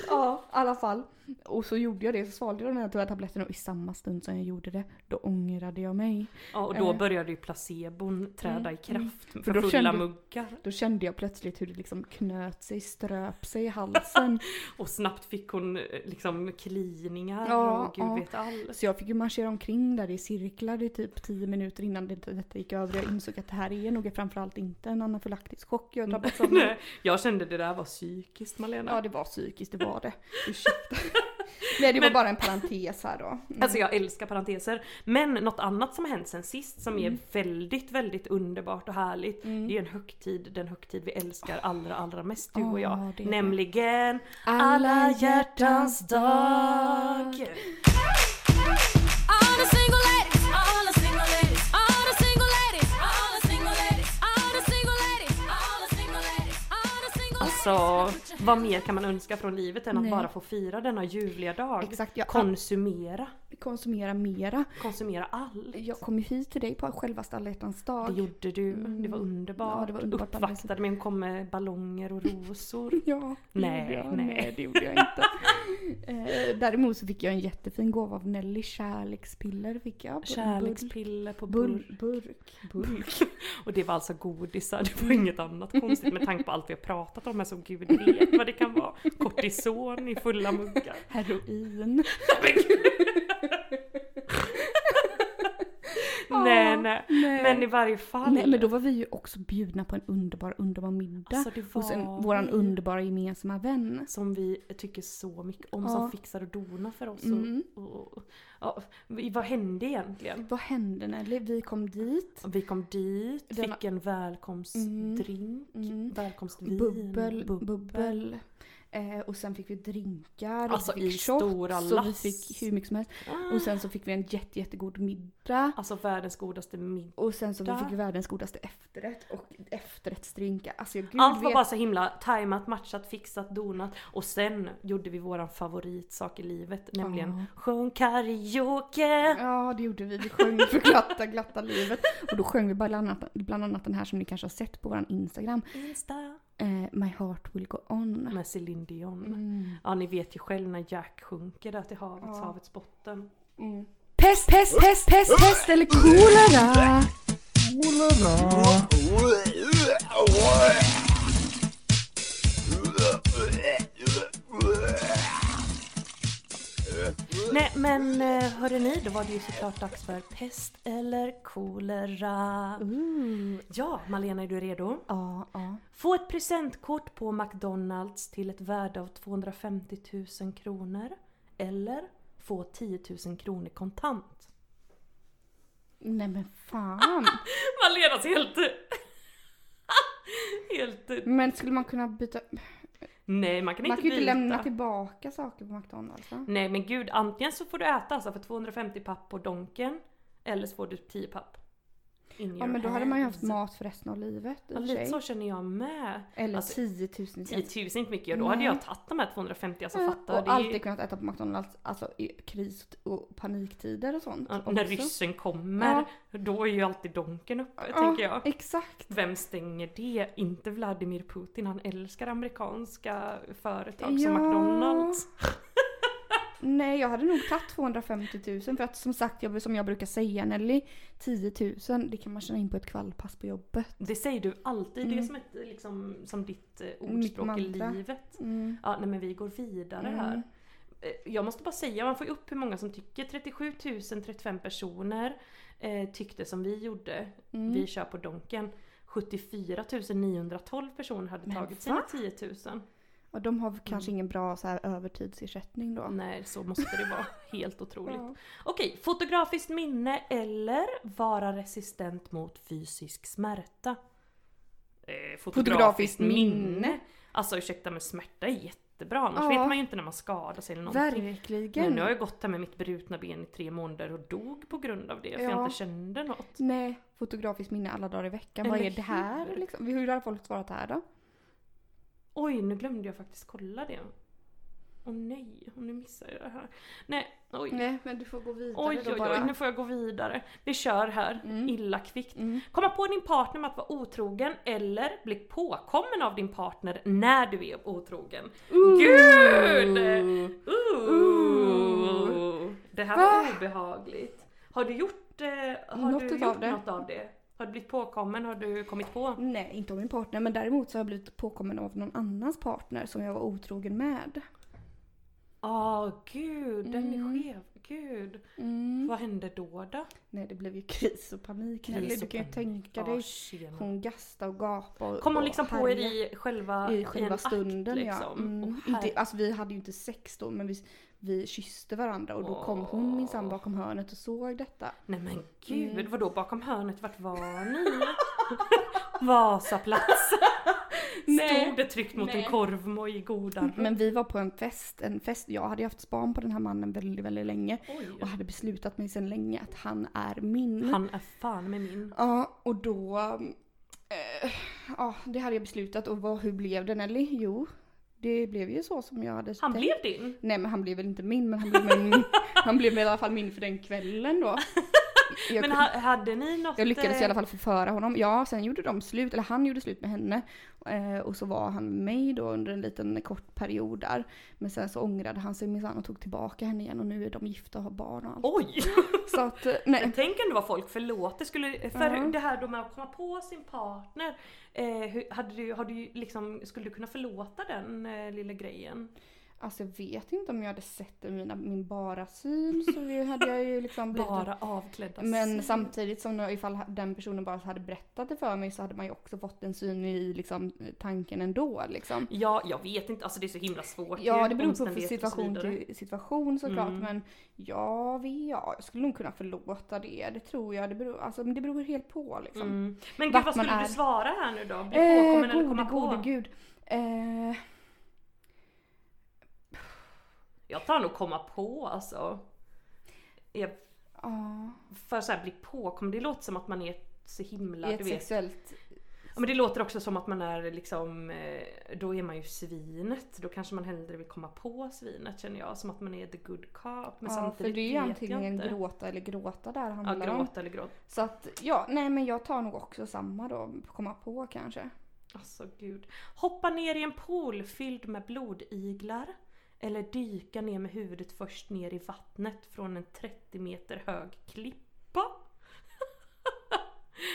S1: Ja, i alla fall. Och så gjorde jag det, så svalde jag den här tyvärr tabletten och i samma stund som jag gjorde det, då ångrade jag mig.
S2: Ja, och
S1: Eh.
S2: då började ju placebon träda i kraft för
S1: Mm, då
S2: fulla
S1: kände-
S2: muggar.
S1: Då kände jag plötsligt hur det liksom knöt sig, ströp sig i halsen.
S2: Och snabbt fick hon eh, liksom kliningar
S1: Ja,
S2: och gud
S1: ja.
S2: vet allt.
S1: Så jag fick ju marschera omkring där i cirklar i typ 10 minuter innan det, detta gick över. Jag insåg att det här är nog framförallt inte en anafylaktisk chock jag drabbats av.
S2: Nej, jag kände det där var psykiskt Malena.
S1: Ja, det var psykiskt, det var det. Ursäkta. Nej, det var
S2: Men-
S1: bara en parentes här då. Mm.
S2: Alltså jag älskar parenteser. Men något annat som har hänt sen sist som
S1: Mm.
S2: är väldigt, väldigt underbart och härligt. Det är en högtid, den högtid vi älskar allra, allra mest du och jag.
S1: Ja, det är det.
S2: Nämligen
S1: Alla
S2: Alla
S1: hjärtans
S2: hjärtans
S1: dag.
S2: dag!
S5: All the single ladies, all the single ladies, all the single ladies, all the single ladies, all the single ladies, all the single ladies, all the single ladies.
S2: Alltså, vad mer kan man önska från livet än att
S1: Nej.
S2: bara få fira denna ljuvliga dag?
S1: Exakt, jag-
S2: Konsumera.
S1: Konsumera mera.
S2: Konsumera allt.
S1: Jag kom ju hit till dig på självaste alla hjärtans
S2: Det
S1: dag.
S2: gjorde du. Det var underbart.
S1: Mm. Ja, det var underbart.
S2: Uppvaktade mig och kom med ballonger och rosor.
S1: Ja, det
S2: Nej,
S1: gjorde jag.
S2: nej.
S1: det gjorde jag inte. eh, däremot så fick jag en jättefin gåva av Nelly. Kärlekspiller fick jag. Bur-
S2: Kärlekspiller på
S1: bur-
S2: burk.
S1: bur- burk. Burk.
S2: Och det var alltså godisar, det
S1: Mm.
S2: var inget annat konstigt med tanke på allt vi har pratat om här som gud vet vad det kan vara. Kortison i fulla muggar.
S1: Heroin.
S2: nej, nej
S1: nej.
S2: Men i varje fall.
S1: Nej men då var vi ju också bjudna på en underbar, underbar middag.
S2: Alltså, det
S1: Hos en,
S2: var
S1: våran
S2: vi.
S1: underbara gemensamma vän.
S2: Som vi tycker så mycket om,
S1: Ja.
S2: som fixar och donar för oss.
S1: Mm.
S2: Och, och, ja, vad hände egentligen?
S1: Vad hände Nelly? Vi kom dit.
S2: Vi kom dit,
S1: Denna-
S2: fick en välkomstdrink,
S1: Mm.
S2: välkomstvin,
S1: Bubbel, bubbel. Eh, och sen fick vi drinkar. och
S2: Alltså,
S1: vi fick
S2: i stora
S1: Så vi
S2: lass.
S1: fick hur mycket som helst.
S2: Ah.
S1: Och sen så fick vi en jätte, jättegod middag.
S2: Alltså världens godaste middag.
S1: Och sen så
S2: Där.
S1: fick vi världens godaste efterrätt och efterrättsdrinkar. Alltså jag gud
S2: Allt var
S1: vet.
S2: bara så himla tajmat, matchat, fixat, donat. Och sen gjorde vi våran favoritsak i livet, nämligen sjöng karaoke.
S1: Ja det gjorde vi. Vi sjöng för glatta, glatta livet. Och då sjöng vi bland annat, bland annat den här som ni kanske har sett på våran Instagram.
S2: Insta
S1: Eh, My heart will go on.
S2: med Céline Dion.
S1: Mm.
S2: Ja ni vet ju själv när Jack sjunker där till havets, havets botten.
S1: Pest, pest, pest, pest, pest eller kolera.
S2: Nej men eh, hörde ni, då var det ju såklart dags för pest eller kolera.
S1: Mm.
S2: Ja, Malena är du redo?
S1: Ja, ja.
S2: Få ett presentkort på McDonalds till ett värde av 250 000 kronor. Eller få 10 000 kronor kontant.
S1: Nej men fan.
S2: Malenas helt... helt...
S1: Men skulle man kunna byta?
S2: Nej man kan
S1: man
S2: inte
S1: kan ju inte
S2: byta.
S1: lämna tillbaka saker på McDonalds va?
S2: Nej men gud, antingen så får du äta alltså för 250 papp på Donken eller så får du 10 papp. In
S1: Ja
S2: your
S1: men då hade man ju haft
S2: hands.
S1: mat för resten av livet typ i
S2: Ja,
S1: och för
S2: lite
S1: sig.
S2: Alltså, så känner jag med.
S1: Eller
S2: alltså,
S1: 10 000
S2: 10 000 är inte mycket, då hade
S1: Nej.
S2: jag tagit de här 250 alltså
S1: Ja,
S2: fattar.
S1: och
S2: det är ju-
S1: alltid kunnat äta på McDonalds alltså i kris och paniktider och sånt.
S2: Ja,
S1: också.
S2: när ryssen kommer, då är ju alltid donken uppe tänker jag.
S1: Exakt.
S2: Vem stänger det? Inte Vladimir Putin, han älskar amerikanska företag
S1: Ja.
S2: som McDonalds.
S1: Nej jag hade nog tagit 250 000 för att som sagt jag, som jag brukar säga Nelly 10 000 det kan man tjäna in på ett kvällpass på jobbet.
S2: Det säger du alltid, det är
S1: Mm.
S2: som, ett, liksom, som ditt eh,
S1: Mitt
S2: ordspråk i
S1: mantra.
S2: livet.
S1: Mm.
S2: Ja, nej men vi går vidare
S1: Mm.
S2: här. Eh, Jag måste bara säga, man får ju upp hur många som tycker. 37 035 personer eh, tyckte som vi gjorde.
S1: Mm.
S2: Vi kör på Donken. 74 912 personer hade
S1: Men
S2: tagit
S1: va?
S2: sina 10 000.
S1: Och de har kanske ingen bra så här, övertidsersättning då.
S2: Mm. Nej, så måste det vara. Helt otroligt.
S1: Ja.
S2: Okej, fotografiskt minne eller vara resistent mot fysisk smärta? Eh,
S1: Fotografiskt minne.
S2: Alltså ursäkta men smärta är jättebra annars
S1: Ja.
S2: vet man ju inte när man skadar sig eller någonting.
S1: Verkligen.
S2: Men nu har jag gått här med mitt brutna ben i tre månader och dog på grund av det för jag
S1: Ja.
S2: inte kände något.
S1: Nej, fotografiskt minne alla dagar i veckan. Vad
S2: Eller
S1: är det här
S2: hur?
S1: liksom? Hur har folk svarat här då?
S2: Oj, nu glömde jag faktiskt kolla det. Åh nej, och nu missar jag det här. Nej, oj.
S1: Nej, men du får gå vidare
S2: Oj, oj, oj, nu får jag gå vidare. Vi kör här,
S1: Mm.
S2: illa kvickt.
S1: Mm.
S2: Komma på din partner med att vara otrogen eller bli påkommen av din partner när du är otrogen. Gud! Ooh. Det här
S1: Va?
S2: var obehagligt. Har du gjort, eh, har
S1: Något
S2: du
S1: utav
S2: gjort
S1: det. Mm.
S2: något av det? Har du blivit påkommen? Har du kommit på?
S1: Nej, inte av min partner. Men däremot så har jag blivit påkommen av någon annans partner som jag var otrogen med.
S2: Ja, Ah, gud, den är
S1: Mm.
S2: skev. Gud.
S1: Mm.
S2: Vad hände då då?
S1: Nej, det blev ju kris och panik. Ah,
S2: Kris
S1: Nelly,
S2: och
S1: du kan ju
S2: panik.
S1: tänka
S2: Ja,
S1: dig.
S2: tjena.
S1: Hon gastade och gapade. och-
S2: Kom hon
S1: och
S2: liksom på er
S1: härjade.
S2: i själva,
S1: i själva
S2: en
S1: stunden
S2: akt,
S1: ja.
S2: liksom?
S1: Mm.
S2: Åh,
S1: inte, alltså, vi hade ju inte sex då men vi, vi kysste varandra och då kom hon minsann
S2: Åh.
S1: bakom hörnet och såg detta.
S2: Nej men gud,
S1: Mm.
S2: vadå bakom hörnet? Vart var ni? Vasaplats.
S1: Nej.
S2: Stod det tryckt mot
S1: Nej.
S2: en korvmoj i goda
S1: Men vi var på en fest, en fest, jag hade ju haft span på den här mannen väldigt väldigt länge och
S2: Oj,
S1: hade beslutat mig sedan länge att han är min.
S2: han är fan med min.
S1: Ja och då, eh, ja det hade jag beslutat och vad, hur blev det Nelly? Jo, det blev ju så som jag hade
S2: Han
S1: tänkt.
S2: blev din?
S1: Nej men han blev väl inte min men han blev, min, han blev i alla fall min för den kvällen då. Jag
S2: Men
S1: kunde-
S2: ha, hade ni något?
S1: Jag lyckades i alla
S2: eh,
S1: fall förföra honom. Ja, sen gjorde de slut, eller han gjorde slut med henne. Eh, och så var han med mig då under en liten kort period där. Men sen så ångrade han sig minsann och tog tillbaka henne igen och nu är de gifta och har barn och allt.
S2: Oj!
S1: Så att, eh, nej.
S2: Tänk ändå vad folk förlåter. Skulle, för
S1: Ja.
S2: det här då med att komma på sin partner. Eh, hur, hade du, har du liksom, skulle du kunna förlåta den eh, lilla grejen?
S1: Alltså jag vet inte om jag hade sett det i mina, min bara syn så vi- hade jag ju liksom blivit...
S2: Bara avklädda
S1: Men
S2: sig.
S1: samtidigt som nu, ifall den personen bara hade berättat det för mig så hade man ju också fått en syn i liksom, tanken ändå liksom.
S2: Ja, jag vet inte. Alltså det är så himla svårt.
S1: Ja,
S2: ju,
S1: det beror på
S2: omständigheter och så
S1: situation typ.
S2: vidare.
S1: till situation såklart.
S2: Mm.
S1: Men ja, vi, ja, jag skulle nog kunna förlåta det. Det tror jag. Det beror, alltså, men det beror helt på liksom.
S2: Mm. Men gud,
S1: Vart
S2: vad
S1: man
S2: skulle
S1: är.
S2: du svara här nu då? Bli påkommen
S1: Eh,
S2: eller komma
S1: gode, gode
S2: på?
S1: gud. Eh,
S2: Jag tar nog komma på alltså. Jag,
S1: ja,
S2: för så här bli påkommen, det låter som att man är så himla,
S1: i
S2: du
S1: ett
S2: vet.
S1: sexuellt...
S2: Ja, men det låter också som att man är liksom, eh, då är man ju svinet. Då kanske man hellre vill komma på svinet känner jag. Som att man är the good cop. Men
S1: Ja, för
S2: samtidigt
S1: det är ju
S2: vet jag
S1: antingen
S2: inte.
S1: gråta eller gråta där
S2: Ja,
S1: handlar det om.
S2: gråta eller gråta.
S1: Så att ja, nej men jag tar nog också samma då. Komma på kanske.
S2: Alltså gud. Hoppa ner i en pool fylld med blodiglar. Eller dyka ner med huvudet först ner i vattnet från en 30 meter hög klippa.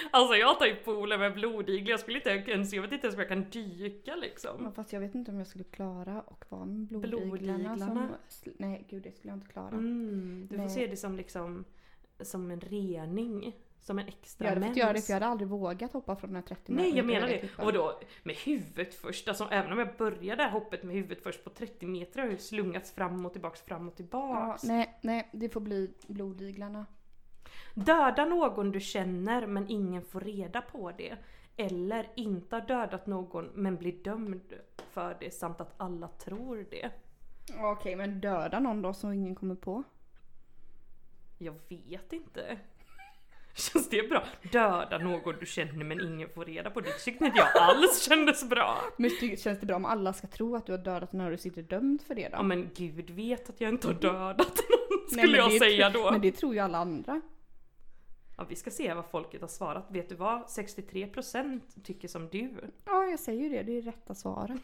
S2: alltså jag tar ju poolen med blodiglar, jag skulle inte ens, jag vet inte ens om jag kan dyka liksom.
S1: Ja, Fast jag vet inte om jag skulle klara och vara med blodiglarna.
S2: Blodiglarna.
S1: Som, sl- nej gud det skulle jag inte klara.
S2: Mm, du får
S1: Nej.
S2: se det som liksom, som en rening. Som en extra
S1: Jag hade fått göra det
S2: mens.
S1: för jag hade aldrig vågat hoppa från den här 30
S2: Nej
S1: meter
S2: jag menar
S1: höga
S2: det.
S1: klippan.
S2: Och då med huvudet först. Alltså även om jag började hoppet med huvudet först på 30 meter har jag ju slungats fram och tillbaks, fram och
S1: Ja,
S2: tillbaks.
S1: nej, nej, det får bli blodiglarna.
S2: Döda någon du känner men ingen får reda på det. Eller inte ha dödat någon men bli dömd för det samt att alla tror det.
S1: Okej men döda någon då som ingen kommer på?
S2: Jag vet inte. Känns det bra? Döda någon du känner men ingen får reda på det. tyckte inte jag alls kändes bra.
S1: Men ty- känns det bra om alla ska tro att du har dödat när du sitter dömd för det då?
S2: Ja men gud vet att jag inte har dödat någon
S1: Nej,
S2: skulle
S1: men
S2: jag
S1: det-
S2: säga då.
S1: Men det tror ju alla andra.
S2: Ja, vi ska se vad folket har svarat. Vet du vad? 63% tycker som du.
S1: Ja jag säger ju det, det är rätta svaret.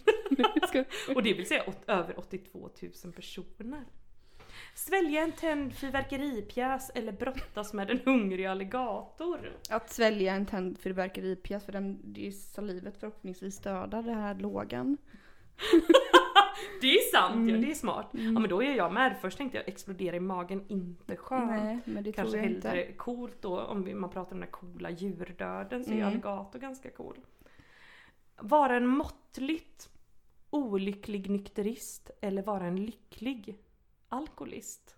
S1: Ska-
S2: Och det vill säga åt, över 82 000 personer. Svälja en tänd fyrverkeripjäs eller brottas med en hungrig alligator.
S1: att svälja en tänd fyrverkeripjäs för den, det är salivet förhoppningsvis dödar den här lågan.
S2: Det är sant ja, det är smart. Ja men då är jag med. Först tänkte jag explodera i magen, inte skönt.
S1: Nej men det
S2: Kanske
S1: tror jag
S2: hellre
S1: inte.
S2: coolt då om vi- man pratar om den här coola djurdöden så är
S1: Mm.
S2: alligator ganska cool. Vara en måttligt olycklig nykterist eller vara en lycklig alkoholist?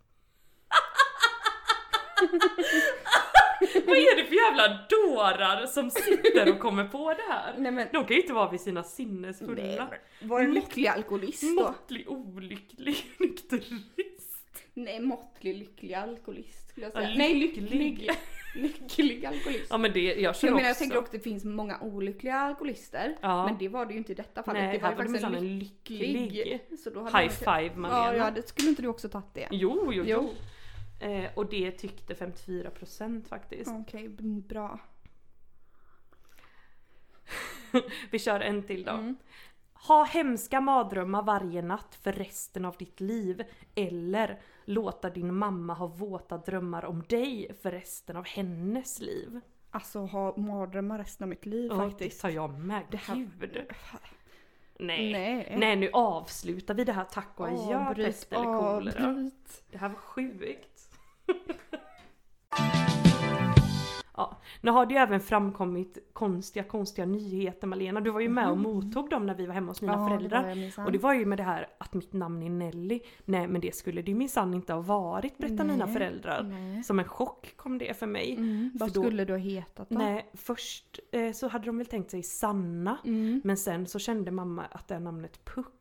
S2: Vad är det för jävla dårar som sitter och kommer på det här?
S1: Nej men,
S2: De kan ju inte vara vid sina sinnesfulla.
S1: var en lycklig alkoholist då?
S2: Måttlig olycklig nykterist.
S1: Nej måttlig lycklig alkoholist skulle jag
S2: Ja,
S1: säga. Nej
S2: lycklig.
S1: lycklig. Lycklig alkoholist.
S2: Ja men det, jag känner
S1: Jag menar jag
S2: också.
S1: tänker också att det finns många olyckliga alkoholister.
S2: Ja.
S1: Men det var det ju inte i detta fallet.
S2: Nej,
S1: det var
S2: här
S1: ju
S2: var det
S1: faktiskt
S2: minsann
S1: en
S2: en lycklig.
S1: Så då hade
S2: High
S1: man-
S2: five Malena.
S1: Ja, ja, det skulle inte du också tagit det?
S2: Jo, jo, jo.
S1: Jo.
S2: Eh, och det tyckte 54% faktiskt.
S1: Okej, b- bra.
S2: Vi kör en till då.
S1: Mm.
S2: Ha hemska mardrömmar varje natt för resten av ditt liv. Eller låta din mamma ha våta drömmar om dig för resten av hennes liv.
S1: Alltså ha mardrömmar resten av mitt liv
S2: Ja, det
S1: faktiskt.
S2: sa jag med.
S1: Det här-
S2: Gud. Nej. Nej.
S1: Nej.
S2: nu avslutar vi det här tack och adjö
S1: Avbryt,
S2: pest eller kolera.
S1: avbryt.
S2: Det här var sjukt. ja, nu har det ju även framkommit konstiga, konstiga nyheter Malena. Du var ju med och mottog dem när vi var hemma hos mina
S1: Mhm. Ja, det
S2: föräldrar.
S1: var jag minsann.
S2: och det var ju med det här att mitt namn är Nelly. Nej men det skulle det ju minsann inte ha varit berättar mina
S1: Nej,
S2: föräldrar.
S1: nej.
S2: Som en chock kom det för mig.
S1: Mm, vad
S2: För då-
S1: skulle du ha hetat då?
S2: Nej, först eh, så hade de väl tänkt sig Sanna.
S1: Mm.
S2: Men sen så kände mamma att det här namnet Puck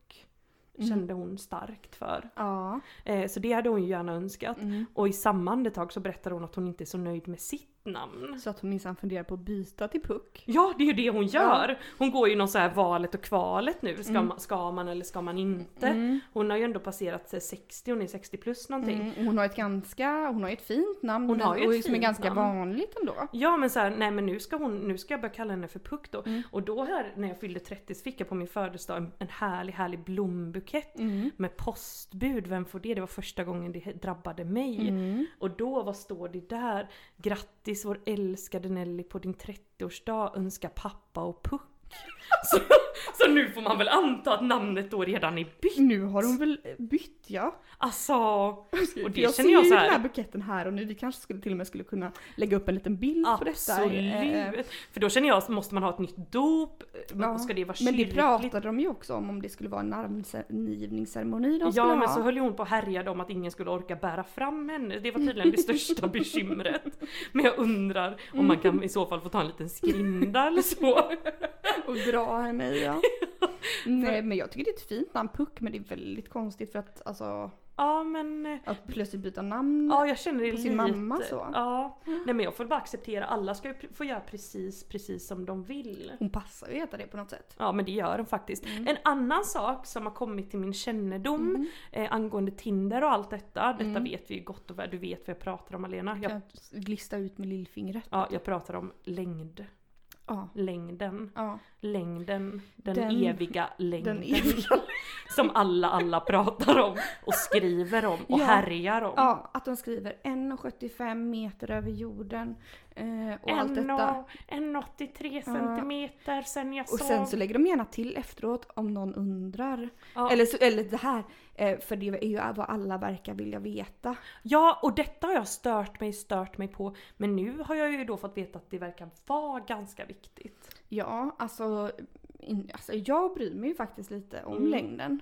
S1: Mm.
S2: kände hon starkt för.
S1: Ja.
S2: Eh, så det hade hon ju gärna önskat. Och i samma andetag så berättar hon att hon inte är så nöjd med sitt namn.
S1: Så att hon minsann funderar på att byta till Puck.
S2: Ja, det är ju det hon gör! Hon går ju någon så här valet och kvalet nu. Ska, man, ska man eller ska man inte? Hon har ju ändå passerat eh, 60, hon är 60 plus någonting.
S1: Mm, hon har ett ganska, hon har ett fint namn
S2: Hon
S1: men-
S2: har ju ett
S1: och som är
S2: fint
S1: ganska
S2: namn.
S1: vanligt ändå.
S2: Ja men så här, nej men nu ska, hon, nu ska jag börja kalla henne för Puck då.
S1: Mm.
S2: Och då här när jag fyllde 30 så fick jag på min födelsedag en, en härlig härlig blombukett
S1: Mm.
S2: med postbud. Vem får det? Det var första gången det drabbade mig.
S1: Mm.
S2: Och då, vad står det där? Grattis vår älskade Nelly på din 30-årsdag. Önska pappa och Puck. Så, så nu får man väl anta att namnet då redan är bytt.
S1: Nu har hon väl eh, bytt ja.
S2: Alltså, och det
S1: jag
S2: känner
S1: ser
S2: jag
S1: ju
S2: så
S1: den här
S2: här.
S1: buketten här och nu. Vi kanske skulle till och med skulle kunna lägga upp en liten bild på detta. Eh, eh,
S2: Absolut! För då känner jag, måste man ha ett nytt dop?
S1: ja.
S2: Ska det vara
S1: Men det
S2: kyrkligt?
S1: pratade de ju också om, om det skulle vara en namngivningsceremoni de skulle
S2: Ja men
S1: ha.
S2: så höll ju hon på och härjade om att ingen skulle orka bära fram henne. Det var tydligen det största bekymret. Men jag undrar om man kan i så fall få ta en liten skrinda eller så.
S1: Och dra henne i ja. Nej men jag tycker det är ett fint namn, Puck, men det är väldigt konstigt för att alltså
S2: Ja men... eh,
S1: att plötsligt byta namn.
S2: Ja jag känner det
S1: På
S2: lite.
S1: sin mamma så.
S2: Ja. Nej men jag får bara acceptera, alla ska ju pr- få göra precis, precis som de vill.
S1: Hon passar ju att heta det på något sätt.
S2: Ja men det gör de faktiskt.
S1: Mm.
S2: En annan sak som har kommit till min kännedom eh, angående Tinder och allt detta. Detta
S1: Mm.
S2: vet vi ju gott och väl, du vet vad jag pratar om Alena. Jag,
S1: Att glista ut med lillfingret.
S2: ja, jag pratar om längd.
S1: Ja.
S2: Längden.
S1: ja.
S2: längden, den,
S1: Den-
S2: eviga längden
S1: Den eviga.
S2: som alla alla pratar om och skriver om och
S1: Ja.
S2: härjar om.
S1: Ja, att de skriver 1,75 meter över jorden eh, och allt
S2: En
S1: detta.
S2: och- en 83 centimeter sen jag
S1: Och
S2: sov.
S1: sen så lägger de gärna till efteråt om någon undrar.
S2: Ja.
S1: Eller, så, eller det här, eh, för det är ju vad alla verkar vilja veta.
S2: Ja, och detta har jag stört mig, stört mig på. Men nu har jag ju då fått veta att det verkar vara ganska viktigt.
S1: Ja, alltså, in, alltså jag bryr mig ju faktiskt lite om längden.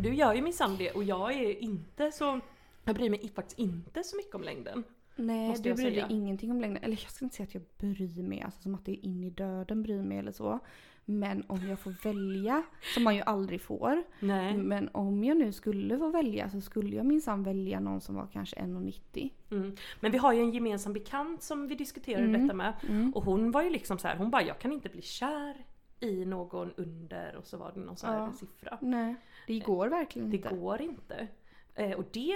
S2: Du gör ju minsann det och jag är inte så... Jag bryr mig faktiskt inte så mycket om längden.
S1: Nej,
S2: Måste
S1: du
S2: jag
S1: bryr dig
S2: säga.
S1: ingenting om längden. Eller jag ska inte säga att jag bryr mig, alltså som att det är in i döden bryr mig eller så. Men om jag får välja, som man ju aldrig får.
S2: Nej.
S1: Men om jag nu skulle få välja så skulle jag minsann välja någon som var kanske 1,90.
S2: Mm. Men vi har ju en gemensam bekant som vi diskuterade
S1: Mm.
S2: detta med.
S1: Mm.
S2: Och hon var ju liksom så här, hon bara jag kan inte bli kär i någon under och så var det någon sån här
S1: Ja.
S2: siffra.
S1: Nej, det går verkligen
S2: Det
S1: inte.
S2: går inte. Eh, och det,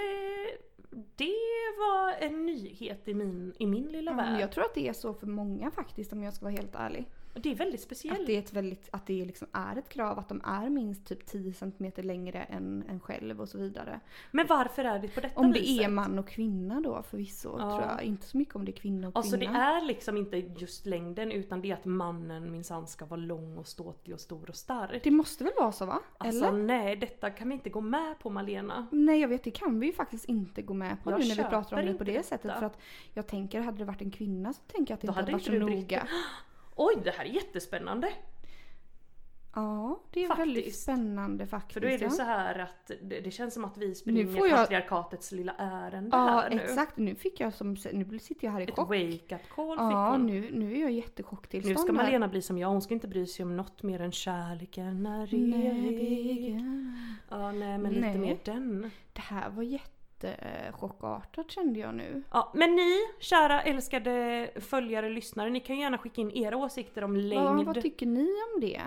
S2: det var en nyhet i min, i min lilla
S1: Ja, men
S2: värld.
S1: jag tror att det är så för många faktiskt om jag ska vara helt ärlig.
S2: Och det är väldigt speciellt.
S1: Att det, är ett väldigt, att det liksom är ett krav att de är minst typ 10 cm längre än en själv och så vidare.
S2: Men varför är det på detta
S1: Om det
S2: viset?
S1: är man och kvinna då förvisso
S2: Ja.
S1: tror jag. Inte så mycket om det är kvinna och
S2: Alltså det
S1: kvinna.
S2: är liksom inte just längden utan det är att mannen minsann ska vara lång och ståtlig och stor och stark.
S1: Det måste väl vara så va?
S2: Alltså
S1: Typ, Eller?
S2: nej, detta kan vi inte gå med på Malena.
S1: Nej jag vet, det kan vi ju faktiskt inte gå med på
S2: Jag
S1: nu när vi
S2: köper
S1: pratar om det
S2: inte
S1: på det
S2: detta.
S1: sättet. För att jag tänker, hade det varit en kvinna så tänker jag att det
S2: Då
S1: inte hade
S2: hade
S1: varit så
S2: inte du brytt
S1: noga.
S2: Oj, det här är jättespännande!
S1: Ja, det är väldigt
S2: Faktiskt.
S1: spännande faktiskt.
S2: För då är det
S1: ja.
S2: så här att det, det känns som att vi springer
S1: får jag-
S2: patriarkatets lilla ärende
S1: Ja,
S2: här nu.
S1: exakt. Nu fick jag som, nu sitter jag här i
S2: Ett
S1: chock.
S2: wake-up call fick
S1: Ja,
S2: hon.
S1: nu, nu är jag i
S2: Nu
S1: jättechock-tillstånd
S2: ska
S1: här.
S2: Malena bli som jag, hon ska inte bry sig om något mer än kärleken är evig.
S1: Nävigen.
S2: Ja, nej
S1: Nej.
S2: men lite mer den.
S1: Det här var jättechockartat kände jag nu.
S2: Ja, men ni, kära älskade följare och lyssnare, ni kan ju gärna skicka in era åsikter om
S1: Vad,
S2: längd.
S1: vad tycker ni om det?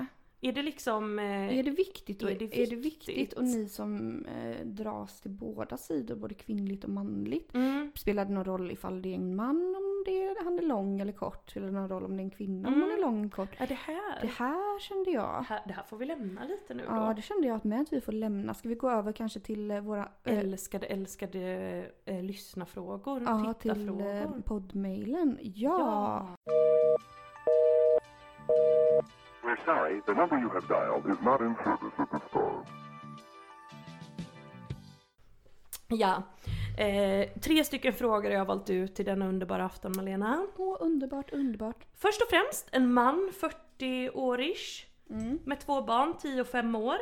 S2: är det liksom... Eh,
S1: Är det viktigt? Och,
S2: är det
S1: Är det viktigt?
S2: viktigt?
S1: Och ni som eh, dras till båda sidor, både kvinnligt och manligt.
S2: mm,
S1: Spelar det någon roll ifall det är en man, om det är, han är lång eller kort? Spelar det någon roll om det är en kvinna, om hon är
S2: Mm.
S1: lång eller kort?
S2: är det här?
S1: Det
S2: Det här?
S1: här kände jag.
S2: Det här får vi lämna lite nu då.
S1: Ja, det kände jag att med att vi får lämna. Ska vi gå över kanske till eh, våra... eh,
S2: Älskade, älskade eh, lyssnafrågor,
S1: Ja, till
S2: tittarfrågor.
S1: eh, poddmailen. Ja!
S2: Ja.
S6: We're sorry, the number you have dialed is not in service at this time.
S2: Ja. Eh, tre stycken frågor jag har valt ut till denna underbara afton Malena.
S1: Åh, underbart, underbart.
S2: Först och främst en man, 40-årish, med två barn, 10 och 5 år.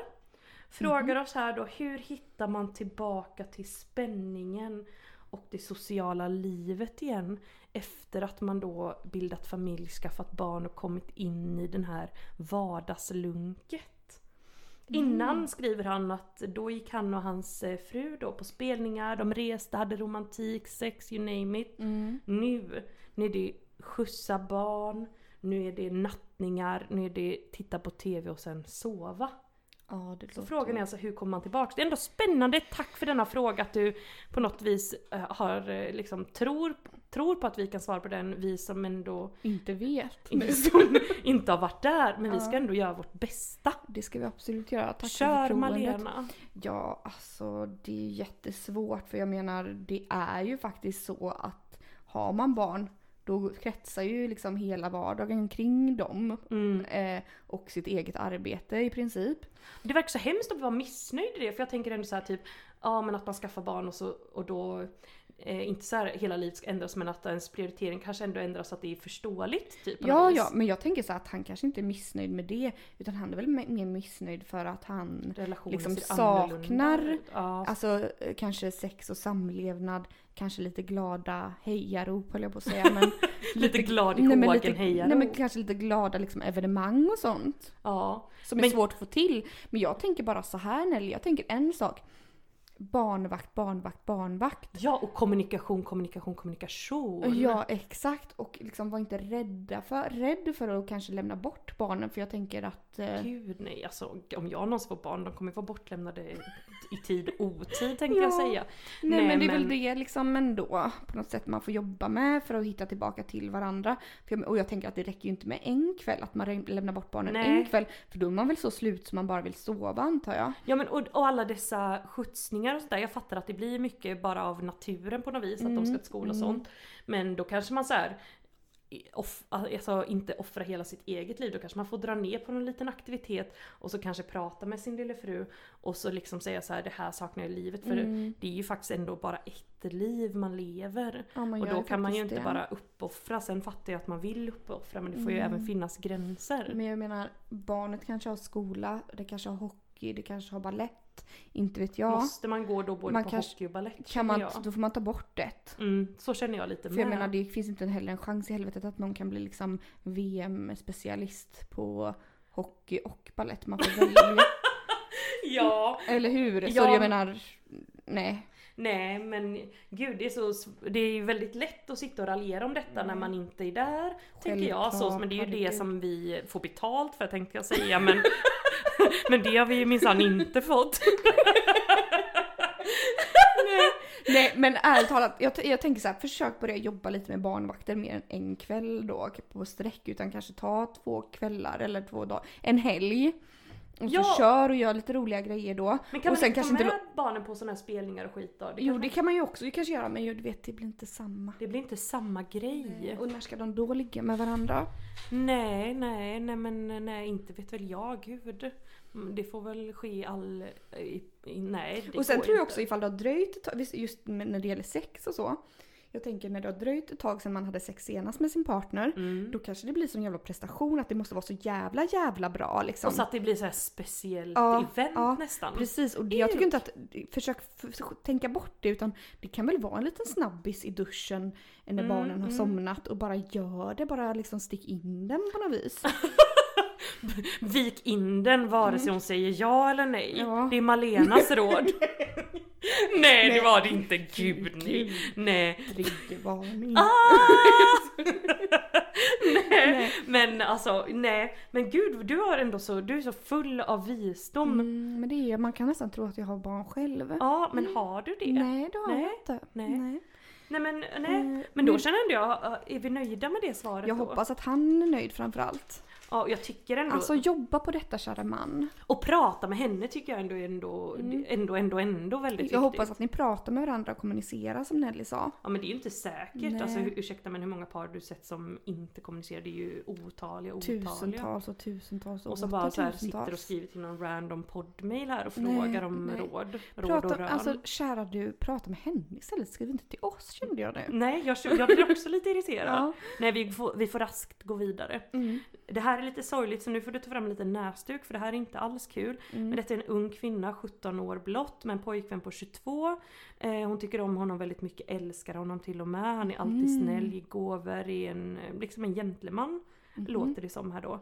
S2: Frågar oss här då, hur hittar man tillbaka till spänningen och det sociala livet igen efter att man då bildat familj, skaffat barn och kommit in i den här vardagslunket?
S1: Mm.
S2: Innan skriver han att då gick han och hans eh, fru då på spelningar, de reste, hade romantik, sex, you name it.
S1: Mm.
S2: Nu, nu är det skjutsa barn, nu är det nattningar, nu är det titta på TV och sen sova.
S1: Ja, det
S2: Så frågan är alltså hur kommer man tillbaka? Det är ändå spännande, tack för denna fråga att du på något vis eh, har, eh, liksom, tror, tror på att vi kan svara på den, vi som ändå
S1: Inte vet.
S2: inte, som inte har varit där, men vi ska ändå göra vårt bästa.
S1: Det ska vi absolut göra. Tack för
S2: Kör
S1: förtroendet.
S2: Malena!
S1: Ja, alltså det är ju jättesvårt för jag menar det är ju faktiskt så att har man barn då kretsar ju liksom hela vardagen kring dem eh, och sitt eget arbete i princip.
S2: Det verkar så hemskt att vara missnöjd i det för jag tänker ändå så här typ Ja men att man skaffar barn och, så, och då eh, Inte så här hela livet ska ändras men att ens prioritering kanske ändå ändras så att det är förståeligt typ på
S1: Ja,
S2: något
S1: ja,
S2: vis.
S1: men jag tänker så att han kanske inte är missnöjd med det utan han är väl me- mer missnöjd för att han
S2: Relationer
S1: liksom
S2: ser annorlunda
S1: saknar-
S2: ut. ja.
S1: Alltså eh, kanske sex och samlevnad, kanske lite glada hejarop höll jag på att säga. Men
S2: Lite glad i
S1: nej, men
S2: hågen
S1: lite-
S2: hejarop.
S1: Nej men kanske lite glada liksom, evenemang och sånt.
S2: ja.
S1: Som är
S2: Men-
S1: svårt att få till. Men jag tänker bara så här Nelly, jag tänker en sak. Barnvakt, barnvakt, barnvakt.
S2: ja och kommunikation, kommunikation, kommunikation.
S1: Ja exakt och liksom var inte rädda för, rädd för att kanske lämna bort barnen för jag tänker att... Eh,
S2: Gud nej alltså om jag någonsin får barn de kommer vara bortlämnade i tid och otid tänkte jag
S1: Ja.
S2: säga.
S1: Nej,
S2: Nej,
S1: men det är väl
S2: men-
S1: det liksom ändå på något sätt man får jobba med för att hitta tillbaka till varandra. För jag, och jag tänker att det räcker ju inte med en kväll, att man rä- lämnar bort barnen
S2: Nej.
S1: en kväll. För då är man väl så slut som man bara vill sova antar jag.
S2: Ja men och, och alla dessa skjutsningar och sådär. Jag fattar att det blir mycket bara av naturen på något vis. Att de
S1: Mm,
S2: ska till skola och sånt. Men då kanske man så här. i- Off, alltså inte offra hela sitt eget liv. Då kanske man får dra ner på någon liten aktivitet. Och så kanske prata med sin lille fru. Och så liksom säga så här: det här saknar jag i livet. För
S1: Mm.
S2: det är ju faktiskt ändå bara ett liv man lever.
S1: Ja, man
S2: och
S1: gör
S2: då
S1: ju
S2: kan man ju
S1: faktiskt
S2: inte
S1: det.
S2: bara uppoffra. Sen fattar jag att man vill uppoffra men det får ju
S1: Mm.
S2: även finnas gränser.
S1: Men jag menar, barnet kanske har skola, det kanske har hockey, det kanske har ballett. att inte vet jag.
S2: Måste man gå då både
S1: Man
S2: på
S1: kanske-
S2: hockey och balett?
S1: Kan man,
S2: känner jag.
S1: då får man ta bort ett.
S2: Mm, så känner jag lite
S1: För jag menar det finns inte heller en chans i helvetet att någon kan bli liksom VM-specialist på hockey och balett. Man får välja.
S2: Ja,
S1: Eller hur? Så
S2: Ja.
S1: jag menar, nej.
S2: nej men gud det är, så, sv- det är ju väldigt lätt att sitta och raljera om detta när man inte är där. Tänker jag så,
S1: Mm. Självklart,
S2: men det är ju det
S1: herregud.
S2: som vi får betalt för tänkte jag säga men, men det har vi ju minsann inte fått.
S1: Nej men ärligt talat, jag, t- jag tänker så här, försök börja jobba lite med barnvakter mer än en kväll då på sträck utan kanske ta två kvällar eller två dagar, en helg. Och
S2: Ja.
S1: så kör och gör lite roliga grejer då.
S2: Men kan
S1: och
S2: man inte ta med
S1: lo-
S2: barnen på sådana här spelningar och skit då? Det,
S1: Jo
S2: kanske-
S1: det kan man ju också ju kanske göra men ju, du vet det blir inte samma.
S2: det blir inte samma grej.
S1: Och när ska de då ligga med varandra?
S2: Nej, nej, nej men nej inte vet väl jag gud. Mm, Det får väl ske i all... I, i, nej det
S1: och sen
S2: går
S1: tror jag
S2: inte.
S1: också ifall det har dröjt ett tag, visst, just med- när det gäller sex och så. Jag tänker när det har dröjt ett tag sedan man hade sex senast med sin partner.
S2: Mm.
S1: Då kanske det blir som en jävla prestation att det måste vara så jävla jävla bra liksom.
S2: Och så att det blir så här speciellt
S1: Ja,
S2: event
S1: ja,
S2: nästan.
S1: Precis och det, jag tycker inte att, försök f- tänka bort det utan det kan väl vara en liten snabbis i duschen när
S2: Mm,
S1: barnen har somnat och bara gör det, bara liksom stick in den på något vis.
S2: Vik in den vare sig hon säger ja eller nej.
S1: Mm. Ja.
S2: Det är Malenas råd. nej, det var det inte. Gud, nej.
S1: Gud.
S2: nej.
S1: Triggervarning.
S2: Ah. nej. Men alltså nej. Men gud du har ändå så, du är så full av visdom.
S1: Mm, men det är, man kan nästan tro att jag har barn själv.
S2: Ja men har du det?
S1: Mm. Nej det har
S2: Nej,
S1: jag inte.
S2: nej. Nej, men nej.
S1: Mm.
S2: Men då känner ändå jag, äh, är vi nöjda med det svaret
S1: Jag
S2: då?
S1: hoppas att han är nöjd framförallt.
S2: Ja jag tycker ändå.
S1: Alltså jobba på detta kära man.
S2: och prata med henne tycker jag ändå ändå, ändå, ändå, ändå väldigt
S1: Mm. Jag
S2: viktigt.
S1: hoppas att ni pratar med varandra och kommunicerar som Nelly sa.
S2: Ja men det är ju inte säkert.
S1: Nej.
S2: Alltså hu- ursäkta men hur många par har du sett som inte kommunicerar? Det är ju otaliga, otaliga.
S1: Tusentals och tusentals och
S2: Och så
S1: åter
S2: bara så här
S1: tusentals.
S2: sitter och skriver till någon random poddmail här och
S1: Nej,
S2: frågar om
S1: nej.
S2: råd. Råd och
S1: Prata,
S2: rön.
S1: alltså kära du, prata med henne istället. Skriv inte till oss kände jag nu.
S2: Nej, jag, jag blir också lite irriterad.
S1: Ja.
S2: Nej, vi får, vi får raskt gå vidare. Det här är lite sorgligt så nu får du ta fram lite näsduk för det här är inte alls kul. Men detta är en ung kvinna, 17 år blott, med en pojkvän på 22. Eh, hon tycker om honom väldigt mycket, älskar honom till och med. Han är alltid snäll, ger gåvor, är en, liksom en gentleman. Låter det som här då.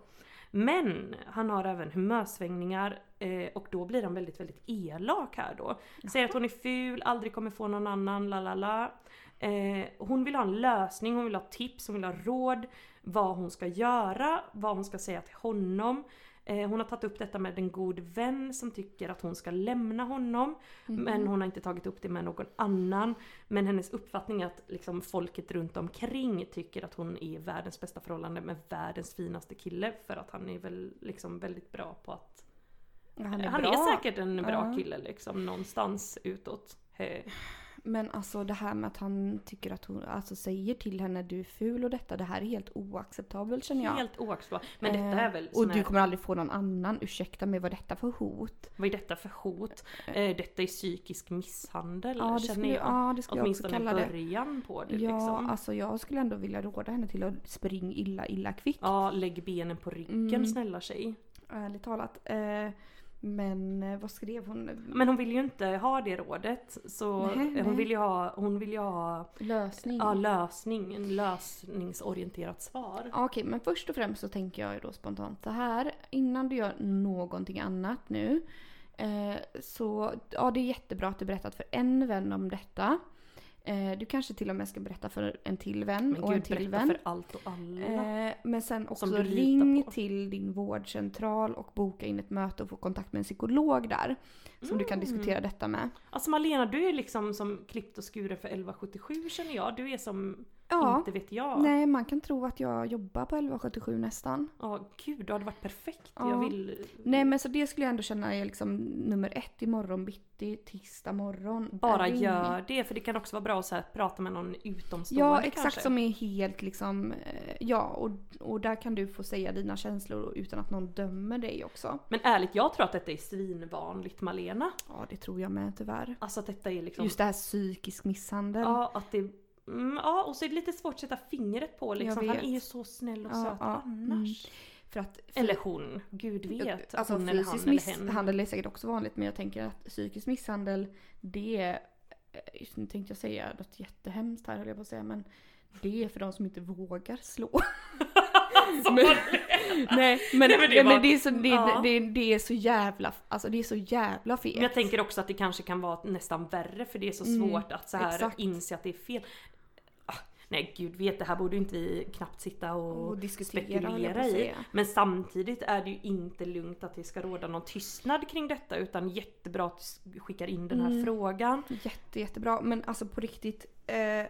S2: Men han har även humörsvängningar eh, och då blir han väldigt, väldigt elak här då. Säger att hon är ful, aldrig kommer få någon annan, la la la. Eh, Hon vill ha en lösning, hon vill ha tips, hon vill ha råd. Vad hon ska göra, vad hon ska säga till honom. Eh, Hon har tagit upp detta med en god vän som tycker att hon ska lämna honom.
S1: Mhm.
S2: Men hon har inte tagit upp det med någon annan. Men hennes uppfattning är att liksom, folket runt omkring tycker att hon är världens bästa förhållande med världens finaste kille. För att han är väl liksom väldigt bra på att...
S1: Han är
S2: han
S1: bra.
S2: är säkert en bra
S1: Ja.
S2: kille liksom någonstans utåt. Eh,
S1: Men alltså det här med att han tycker att hon alltså, säger till henne du är ful och detta. Det här är helt oacceptabelt känner jag.
S2: Helt oacceptabelt. Men detta
S1: Eh,
S2: är väl
S1: Och
S2: sån här-
S1: du kommer aldrig få någon annan. Ursäkta mig, vad är detta för hot?
S2: Vad är detta för hot? Eh, detta är psykisk misshandel
S1: Ja, det
S2: känner
S1: skulle-
S2: jag.
S1: ja, det skulle jag också
S2: Åtminstone
S1: kalla det.
S2: början på det
S1: Ja,
S2: liksom.
S1: alltså jag skulle ändå vilja råda henne till att spring illa, illa kvickt.
S2: Ja, lägg benen på ryggen
S1: Mm.
S2: snälla tjej.
S1: Ärligt talat. Eh, men eh, vad skrev hon?
S2: Men hon vill ju inte ha det rådet. Så
S1: Nej,
S2: hon,
S1: nej.
S2: Vill ju ha, hon vill ju ha
S1: Lösning.
S2: ja, lösning, en lösningsorienterat svar.
S1: Ja, Okej, men först och främst så tänker jag ju då spontant så här. Innan du gör någonting annat nu. Eh, så ja, det är jättebra att du berättat för en vän om detta. Eh, du kanske till och med ska berätta för en till vän
S2: Men
S1: och en
S2: gud,
S1: till
S2: berätta
S1: vän.
S2: för allt och alla.
S1: Eh, men sen också
S2: Som du litar
S1: ring
S2: på.
S1: till din vårdcentral och boka in ett möte och få kontakt med en psykolog där. Som du
S2: Mm.
S1: kan diskutera detta med.
S2: Alltså Malena, du är liksom som klippt och skuren för 1177 känner jag. Du är som
S1: Ja.
S2: inte vet jag.
S1: Nej, man kan tro att jag jobbar på 1177 nästan.
S2: Ja, gud, du hade varit perfekt.
S1: Ja.
S2: Jag vill...
S1: Nej men så det skulle jag ändå känna är liksom nummer ett imorgon bitti, tisdag morgon.
S2: Bara
S1: Ring.
S2: gör det, för det kan också vara bra att så här, prata med någon utomstående
S1: Ja exakt
S2: kanske.
S1: som är helt liksom, eh, ja och, och där kan du få säga dina känslor utan att någon dömer dig också.
S2: Men ärligt, jag tror att detta är svinvanligt Malena.
S1: Ja det tror jag med tyvärr.
S2: Alltså att detta är liksom...
S1: Just det här psykisk misshandel.
S2: Ja, att det... Mm, ja, och så är det lite svårt att sätta fingret på liksom.
S1: Jag
S2: Han
S1: vet.
S2: är ju så snäll och
S1: Ja, Mm.
S2: söt
S1: ja,
S2: annars.
S7: För att...
S2: Eller hon. Gud vet.
S1: Alltså
S2: hon eller han
S1: fysisk
S2: eller hen.
S1: misshandel är säkert också vanligt men jag tänker att psykisk misshandel det är, eh, nu tänkte jag säga något jättehemskt här höll jag på att säga men det är för de som inte vågar slå. men, nej men,
S2: Nej,
S1: nej,
S2: men
S1: men,
S2: det
S1: det,
S2: var-
S1: är så, det,
S2: ja.
S1: det, det är så jävla, alltså det är så jävla fel.
S2: Men jag tänker också att det kanske kan vara nästan värre för det är så svårt att så här
S1: Mm. exakt.
S2: inse att det är fel. Ah, Nej gud vet, det här borde ju inte vi knappt sitta och,
S1: Och diskutera, höll jag på
S2: spekulera
S1: att
S2: i.
S1: säga.
S2: Men samtidigt är det ju inte lugnt att det ska råda någon tystnad kring detta utan jättebra att du skickar in den här
S1: Mm.
S2: frågan.
S1: Jätte, jättebra. Men alltså på riktigt. Eh,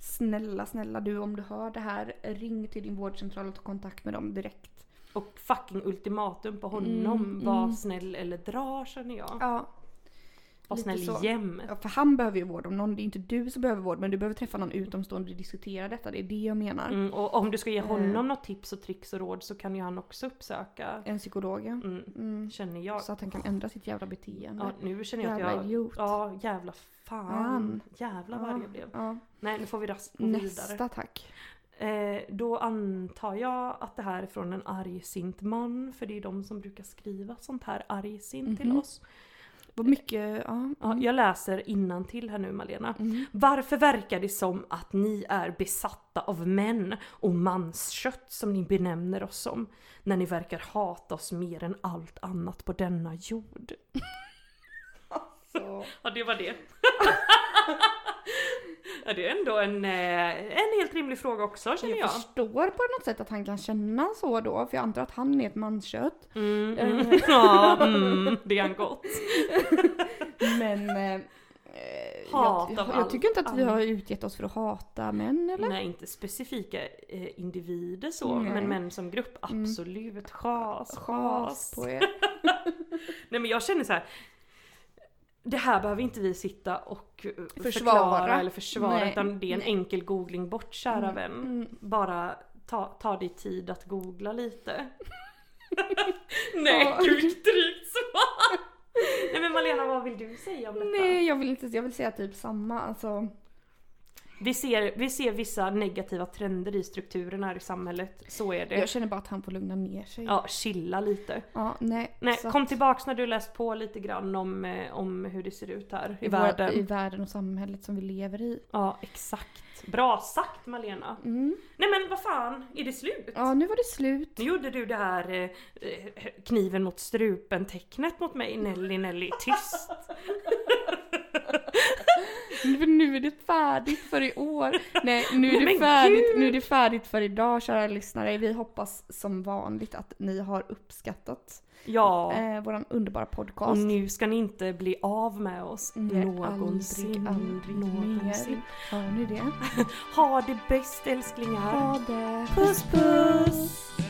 S1: snälla, snälla du om du hör det här. Ring till din vårdcentral och ta kontakt med dem direkt.
S2: Och fucking ultimatum på honom. var snäll eller dra känner jag.
S1: Mm, Ja.
S2: var
S1: lite
S2: snäll
S1: så.
S2: jämt.
S1: ja för han behöver ju vård om någon. Det är inte du som behöver vård men du behöver träffa någon utomstående och diskutera detta. Det är det jag menar.
S2: Mm, och om du ska
S1: Eh.
S2: ge honom något tips och tricks och råd så kan ju han också uppsöka.
S1: En psykolog ja.
S2: Mm,
S1: Mm.
S2: Känner jag.
S1: Så att han kan ändra sitt jävla beteende.
S2: Ja, nu känner jag
S1: Jävla
S2: att jag...
S1: idiot.
S2: Ja, jävla fan.
S1: Fan.
S2: Jävla vad arg jag blev.
S1: Ja.
S2: Nej, nu får vi rast gå vidare.
S1: Nästa tack.
S2: Eh, då antar jag att det här är från en argsint man, för det är de som brukar skriva sånt här argsint till
S1: Mhm.
S2: oss.
S1: Vad mycket, ja.
S2: Ja, jag läser innan till här nu Malena.
S1: Mm.
S2: Varför verkar det som att ni är besatta av män och manskött som ni benämner oss som? När ni verkar hata oss mer än allt annat på denna jord.
S1: Så.
S2: Ja, det var det. ja, det är ändå en, eh, en helt rimlig fråga också känner
S1: Jag
S2: jag.
S1: förstår på något sätt att han kan känna så då. För jag antar att han är ett manskött.
S2: Mm, mm. Ja, mm, det är han gott.
S1: Men... eh, eh,
S2: Hat
S1: jag,
S2: av
S1: jag,
S2: allt
S1: jag tycker inte att vi
S2: annat.
S1: har utgett oss för att hata män eller?
S2: Nej, inte specifika eh, individer så,
S1: Nej.
S2: men män som grupp absolut. Chas,
S1: Chas
S2: chas.
S1: på er.
S2: Nej men jag känner så här. Det här behöver inte vi sitta och eh,
S1: Försvara.
S2: förklara eller försvara
S1: Nej.
S2: utan det är en
S1: Nej.
S2: enkel googling bort kära vän.
S1: mm.
S2: Bara ta, ta dig tid att googla lite. Nej
S1: Ja.
S2: gud vilket drygt svar! Nej men Malena vad vill du säga om detta?
S1: Nej jag vill inte, jag vill säga typ samma. Alltså,
S2: Vi, ser, vi ser vissa negativa trender i strukturen här i samhället, så är det.
S1: jag känner bara att han får lugna ner sig.
S2: Ja, chilla lite.
S1: Ja, nej.
S2: Nej,
S1: så att-
S2: kom tillbaks när du läst på lite grann om, eh, om hur det ser ut här i,
S1: i världen.
S2: världen.
S1: I världen och samhället som vi lever i.
S2: Ja, exakt. Bra sagt Malena. Nej men vad fan, är det slut?
S1: Mm. Ja, nu var det slut.
S2: Nu gjorde du det här eh, eh, kniven mot strupen tecknet mot mig. Nelly, Nelly, tyst.
S1: Nu- Nu är det färdigt för i år. Nej, nu
S2: Nej,
S1: är,
S2: men
S1: det färdigt, nu är det färdigt för idag kära lyssnare. Vi hoppas som vanligt att ni har uppskattat
S2: Ja,
S1: eh, våran underbara podcast.
S2: och nu ska ni inte bli av med oss
S1: Nej,
S2: någonsin.
S1: Aldrig, aldrig
S2: någonsin.
S1: mer. Hör ni det?
S2: Ha det bäst älsklingar.
S1: Ha det!
S2: puss! puss.